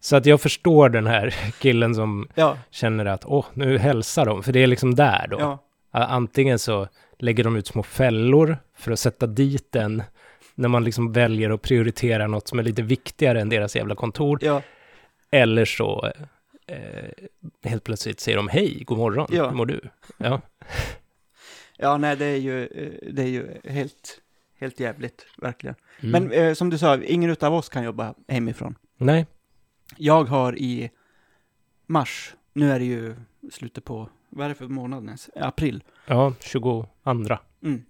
[SPEAKER 2] så att jag förstår den här killen som
[SPEAKER 1] Ja,
[SPEAKER 2] känner att åh, nu hälsar de, för det är liksom där då.
[SPEAKER 1] ja,
[SPEAKER 2] A- Antingen så lägger de ut små fällor för att sätta dit den när man liksom väljer att prioritera något som är lite viktigare än deras jävla kontor,
[SPEAKER 1] ja,
[SPEAKER 2] eller så eh, helt plötsligt säger de hej, god morgon,
[SPEAKER 1] Ja.
[SPEAKER 2] hur mår du? Ja,
[SPEAKER 1] ja, nej, det är ju, eh, det är ju helt, helt jävligt, verkligen.
[SPEAKER 2] mm.
[SPEAKER 1] Men eh, som du sa, ingen utav oss kan jobba hemifrån.
[SPEAKER 2] nej,
[SPEAKER 1] Jag har i mars, nu är det ju slutet på, vad är det för månad ens? April.
[SPEAKER 2] ja, 22.
[SPEAKER 1] Mm.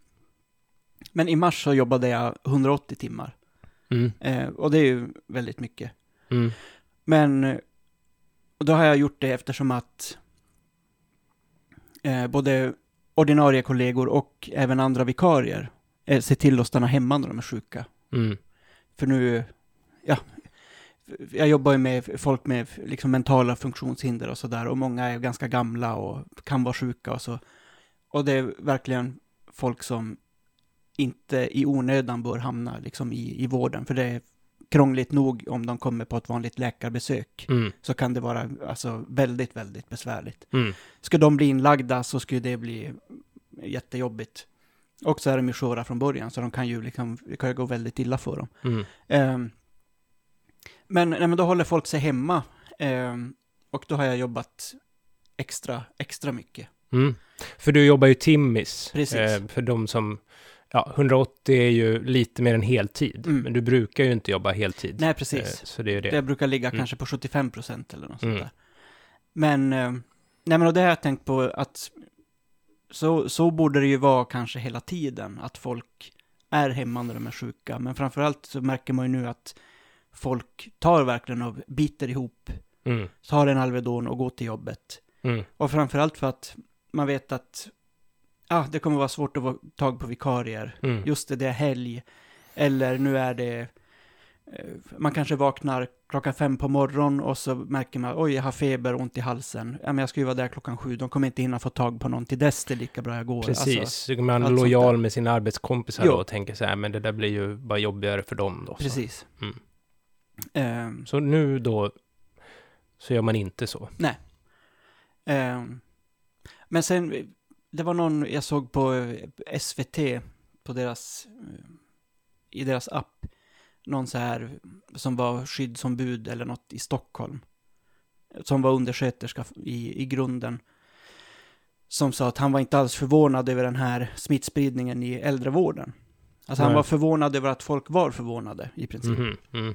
[SPEAKER 1] Men i mars så jobbade jag 180 timmar.
[SPEAKER 2] Mm.
[SPEAKER 1] Eh, och det är ju väldigt mycket.
[SPEAKER 2] Mm.
[SPEAKER 1] Men eh, då har jag gjort det eftersom att eh, både ordinarie kollegor och även andra vikarier eh, se till att stanna hemma när de är sjuka.
[SPEAKER 2] Mm.
[SPEAKER 1] För nu, ja, jag jobbar ju med folk med liksom mentala funktionshinder och sådär och många är ganska gamla och kan vara sjuka och så. Och det är verkligen folk som inte i onödan bör hamna liksom i, i vården, för det är krångligt nog om de kommer på ett vanligt läkarbesök
[SPEAKER 2] Mm.
[SPEAKER 1] så kan det vara alltså, väldigt, väldigt besvärligt.
[SPEAKER 2] Mm.
[SPEAKER 1] Skulle de bli inlagda så skulle det bli jättejobbigt. Och så är de ju sköra från början, så de kan ju liksom, det kan ju gå väldigt illa för dem.
[SPEAKER 2] Mm.
[SPEAKER 1] Ehm, men, nej, men då håller folk sig hemma. ehm, och då har jag jobbat extra, extra mycket.
[SPEAKER 2] Mm. För du jobbar ju timmis. eh,
[SPEAKER 1] Precis.
[SPEAKER 2] för de som... Ja, 180 är ju lite mer än heltid,
[SPEAKER 1] Mm.
[SPEAKER 2] men du brukar ju inte jobba heltid.
[SPEAKER 1] Nej, precis.
[SPEAKER 2] Eh, så det är ju det.
[SPEAKER 1] Det brukar ligga
[SPEAKER 2] Mm.
[SPEAKER 1] kanske på 75 procent eller något
[SPEAKER 2] Mm.
[SPEAKER 1] sånt där. Men, ehm, nej men och det har jag tänkt på att så, så borde det ju vara kanske hela tiden, att folk är hemma när de är sjuka. Men framförallt så märker man ju nu att folk tar verkligen och biter ihop,
[SPEAKER 2] Mm.
[SPEAKER 1] tar en Alvedon och går till jobbet.
[SPEAKER 2] Mm.
[SPEAKER 1] Och framförallt för att man vet att ah, det kommer vara svårt att få tag på vikarier.
[SPEAKER 2] Mm.
[SPEAKER 1] Just det, det är helg. Eller nu är det... eh, Man kanske vaknar klockan fem på morgonen och så märker man oj, jag har feber och ont i halsen. Ja, men jag ska ju vara där klockan sju, de kommer inte hinna få tag på någon till dess, det är lika bra jag går.
[SPEAKER 2] Precis,
[SPEAKER 1] Alltså,
[SPEAKER 2] så kan man
[SPEAKER 1] allt
[SPEAKER 2] är
[SPEAKER 1] sånt
[SPEAKER 2] lojal
[SPEAKER 1] där.
[SPEAKER 2] med sina arbetskompisar
[SPEAKER 1] Jo.
[SPEAKER 2] då och tänker så här, men det där blir ju bara jobbigare för dem då. så."
[SPEAKER 1] precis.
[SPEAKER 2] Mm.
[SPEAKER 1] Ehm,
[SPEAKER 2] Så nu då, så gör man inte så.
[SPEAKER 1] Ehm, men sen, eh, det var någon jag såg på eh, SVT, på deras, eh, i deras app, någon så här som var skyddsombud eller något i Stockholm, som var undersköterska i, i grunden, som sa att han var inte alls förvånad över den här smittspridningen i äldrevården. Alltså han
[SPEAKER 2] Nej.
[SPEAKER 1] var förvånad över att folk var förvånade i princip.
[SPEAKER 2] Mhm, Mm.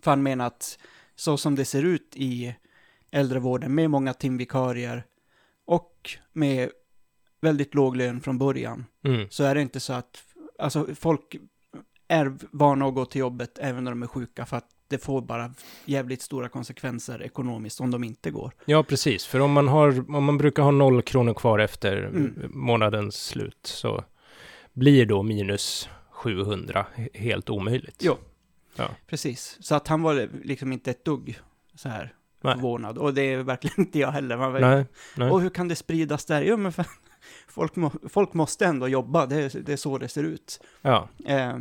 [SPEAKER 1] För han menar att så som det ser ut i äldrevården med många timvikarier och med väldigt låg lön från början
[SPEAKER 2] Mm.
[SPEAKER 1] så är det inte så att alltså, folk är vana att gå till jobbet även när de är sjuka för att det får bara jävligt stora konsekvenser ekonomiskt om de inte går.
[SPEAKER 2] Ja, precis. För om man, har, om man brukar ha noll kronor kvar efter
[SPEAKER 1] Mm.
[SPEAKER 2] eh, månadens slut så blir då minus 700 he- helt omöjligt.
[SPEAKER 1] Jo.
[SPEAKER 2] Ja.
[SPEAKER 1] Precis, så att han var liksom inte ett dugg så här
[SPEAKER 2] Nej.
[SPEAKER 1] förvånad och det är verkligen inte jag heller. Man var,
[SPEAKER 2] Nej, nej.
[SPEAKER 1] Och hur kan det spridas där? Jo, men fan, folk, må, folk måste ändå jobba, det, är- det är så det ser ut.
[SPEAKER 2] Ja.
[SPEAKER 1] Eh,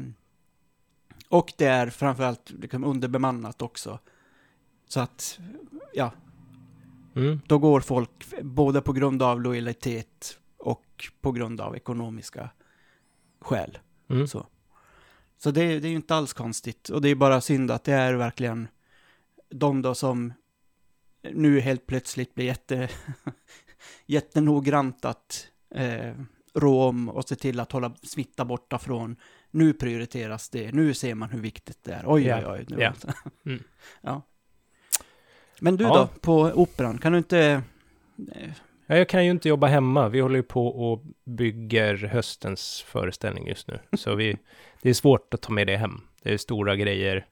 [SPEAKER 1] och det är framförallt liksom underbemannat också. Så att, ja,
[SPEAKER 2] Mm.
[SPEAKER 1] då går folk f- både på grund av lojalitet och på grund av ekonomiska skäl.
[SPEAKER 2] Mm.
[SPEAKER 1] Så, så det, det är ju inte alls konstigt. Och det är bara synd att det är verkligen de då som nu helt plötsligt blir jätte, jättenoggrant att eh, rå om och se till att hålla smitta borta från. Nu prioriteras det, nu ser man hur viktigt det är. Oj,
[SPEAKER 2] Ja,
[SPEAKER 1] oj, oj. Nu.
[SPEAKER 2] ja. Mm.
[SPEAKER 1] Ja. Men du
[SPEAKER 2] Ja.
[SPEAKER 1] då, på operan, kan du inte... eh,
[SPEAKER 2] Ja, jag kan ju inte jobba hemma. Vi håller ju på och bygger höstens föreställning just nu. Så vi, det är svårt att ta med det hem. Det är stora grejer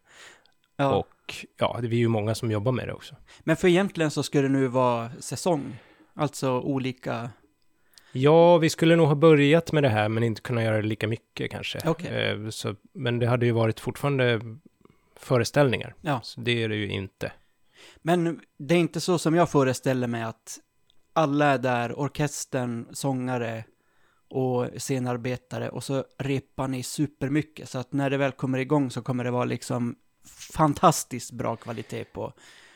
[SPEAKER 1] Ja.
[SPEAKER 2] och ja, det är ju många som jobbar med det också.
[SPEAKER 1] Men för egentligen så skulle det nu vara säsong. Alltså olika...
[SPEAKER 2] Ja, vi skulle nog ha börjat med det här, men inte kunna göra det lika mycket kanske.
[SPEAKER 1] Okej.
[SPEAKER 2] Eh, Så, men det hade ju varit fortfarande föreställningar.
[SPEAKER 1] Ja.
[SPEAKER 2] Så det är det ju inte.
[SPEAKER 1] Men det är inte så som jag föreställer mig att alla är där, orkestern, sångare och scenarbetare och så repar ni supermycket. Så att när det väl kommer igång så kommer det vara liksom fantastiskt bra kvalitet på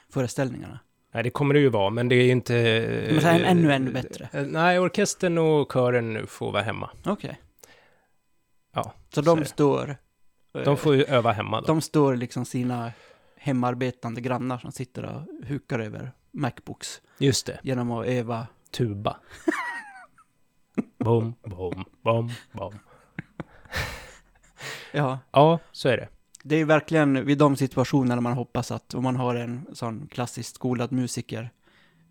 [SPEAKER 1] föreställningarna.
[SPEAKER 2] Nej, det kommer det ju vara, men det är ju inte... eh,
[SPEAKER 1] Men så här, ännu, ännu bättre.
[SPEAKER 2] eh, Nej, orkestern och kören nu får vara hemma.
[SPEAKER 1] Okej.
[SPEAKER 2] Ja,
[SPEAKER 1] Så
[SPEAKER 2] så är
[SPEAKER 1] de
[SPEAKER 2] det.
[SPEAKER 1] står... eh,
[SPEAKER 2] De får ju öva hemma då.
[SPEAKER 1] de står liksom sina hemarbetande grannar som sitter och hukar över Macbooks
[SPEAKER 2] Just det.
[SPEAKER 1] genom att öva
[SPEAKER 2] tuba. bom, bom, bom, bom.
[SPEAKER 1] Ja,
[SPEAKER 2] Ja, så är det.
[SPEAKER 1] det är verkligen vid de situationerna man hoppas att om man har en sån klassiskt skolad musiker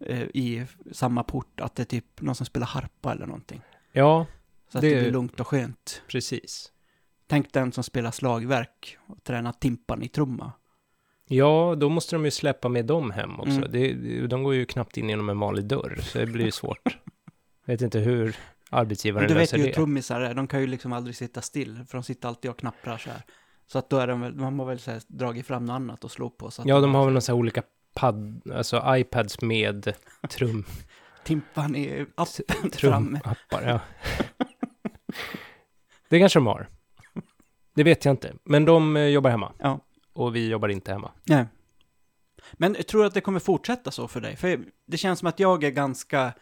[SPEAKER 1] eh, i samma port, att det är typ någon som spelar harpa eller någonting.
[SPEAKER 2] Ja,
[SPEAKER 1] Så att det,
[SPEAKER 2] Det-
[SPEAKER 1] blir lugnt och skönt.
[SPEAKER 2] precis.
[SPEAKER 1] Tänk den som spelar slagverk och tränar timpani-trumma.
[SPEAKER 2] Ja, då måste de ju släppa med dem hem också.
[SPEAKER 1] Mm.
[SPEAKER 2] Det, de går ju knappt in genom en vanlig dörr, så det blir ju svårt. Vet inte hur arbetsgivaren
[SPEAKER 1] Men du vet
[SPEAKER 2] löser
[SPEAKER 1] ju hur
[SPEAKER 2] det.
[SPEAKER 1] trummisar är, de kan ju liksom aldrig sitta still, för de sitter alltid och knapprar så här. Så att då är de väl, man har väl så här, dragit fram något annat och slå på. Så att
[SPEAKER 2] Ja, de har väl några så här olika pad, alltså iPads med trum,
[SPEAKER 1] timpan är appen framme.
[SPEAKER 2] trumappar. Ja. Det kanske de har. Det vet jag inte. Men de eh, jobbar hemma.
[SPEAKER 1] Ja.
[SPEAKER 2] Och vi jobbar inte hemma.
[SPEAKER 1] Nej. Men jag tror att det kommer fortsätta så för dig? För det känns som att jag är ganska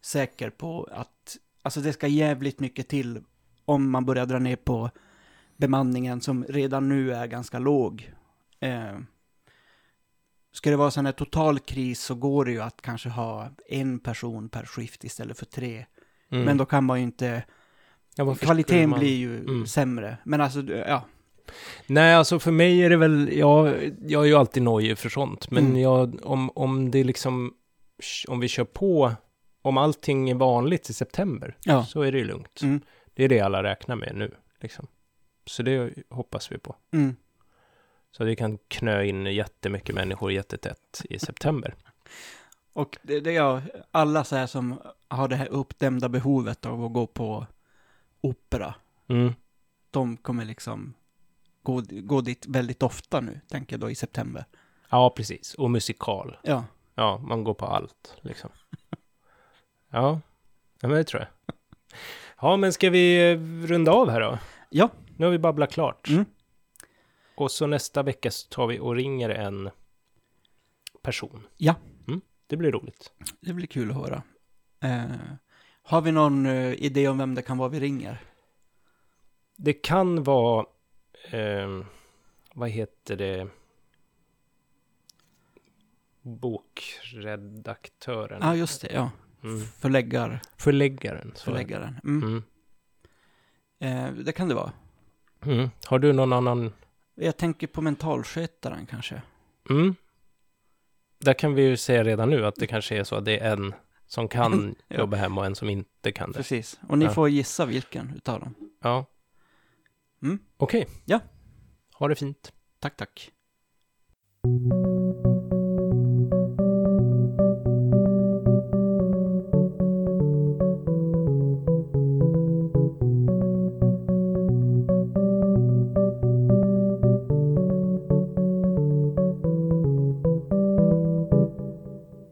[SPEAKER 1] säker på att alltså det ska jävligt mycket till om man börjar dra ner på bemanningen som redan nu är ganska låg. Eh, ska det vara sån här total kris så går det ju att kanske ha en person per skift istället för tre.
[SPEAKER 2] Mm.
[SPEAKER 1] Men då kan man ju inte,
[SPEAKER 2] Ja, varför skulle
[SPEAKER 1] kvaliteten
[SPEAKER 2] man-
[SPEAKER 1] blir ju
[SPEAKER 2] Mm.
[SPEAKER 1] sämre. Men alltså, ja.
[SPEAKER 2] Nej, alltså för mig är det väl, jag, jag är ju alltid nojig för sånt, men
[SPEAKER 1] Mm.
[SPEAKER 2] jag, om, om det liksom, om vi kör på, om allting är vanligt i september,
[SPEAKER 1] ja.
[SPEAKER 2] så är det ju lugnt.
[SPEAKER 1] Mm.
[SPEAKER 2] Det är det alla räknar med nu, liksom. Så det hoppas vi på.
[SPEAKER 1] Mm.
[SPEAKER 2] Så det kan knö in jättemycket människor jättetätt i september.
[SPEAKER 1] Och det, det är alla så här som har det här uppdämda behovet av att gå på opera.
[SPEAKER 2] Mm.
[SPEAKER 1] De kommer liksom gå, gå dit väldigt ofta nu, tänker jag då i september.
[SPEAKER 2] Ja, precis. Och musikal.
[SPEAKER 1] Ja,
[SPEAKER 2] Ja, man går på allt, liksom. Ja, ja men det tror jag. Ja, men ska vi eh, runda av här då?
[SPEAKER 1] ja,
[SPEAKER 2] Nu har vi babblat klart.
[SPEAKER 1] Mm.
[SPEAKER 2] Och så nästa vecka så tar vi och ringer en person.
[SPEAKER 1] Ja.
[SPEAKER 2] Mm, det blir roligt.
[SPEAKER 1] det blir kul att höra. Eh, har vi någon eh, idé om vem det kan vara vi ringer?
[SPEAKER 2] Det kan vara, ehm, vad heter det, bokredaktören,
[SPEAKER 1] Ja, ah, just det, ja.
[SPEAKER 2] mm.
[SPEAKER 1] Förläggar,
[SPEAKER 2] förläggaren. så är det.
[SPEAKER 1] förläggaren. Mm.
[SPEAKER 2] Mm.
[SPEAKER 1] Eh, det kan det vara.
[SPEAKER 2] Mm. Har du någon annan?
[SPEAKER 1] Jag tänker på mentalskötaren kanske.
[SPEAKER 2] Mm. Där kan vi ju säga redan nu att det kanske är så att det är en som kan
[SPEAKER 1] Ja.
[SPEAKER 2] jobba hemma och en som inte kan det.
[SPEAKER 1] Precis. Och ni
[SPEAKER 2] Ja.
[SPEAKER 1] får gissa vilken utav dem.
[SPEAKER 2] Ja.
[SPEAKER 1] Mm.
[SPEAKER 2] Okej.
[SPEAKER 1] Ja.
[SPEAKER 2] Ha det fint.
[SPEAKER 1] Tack, tack.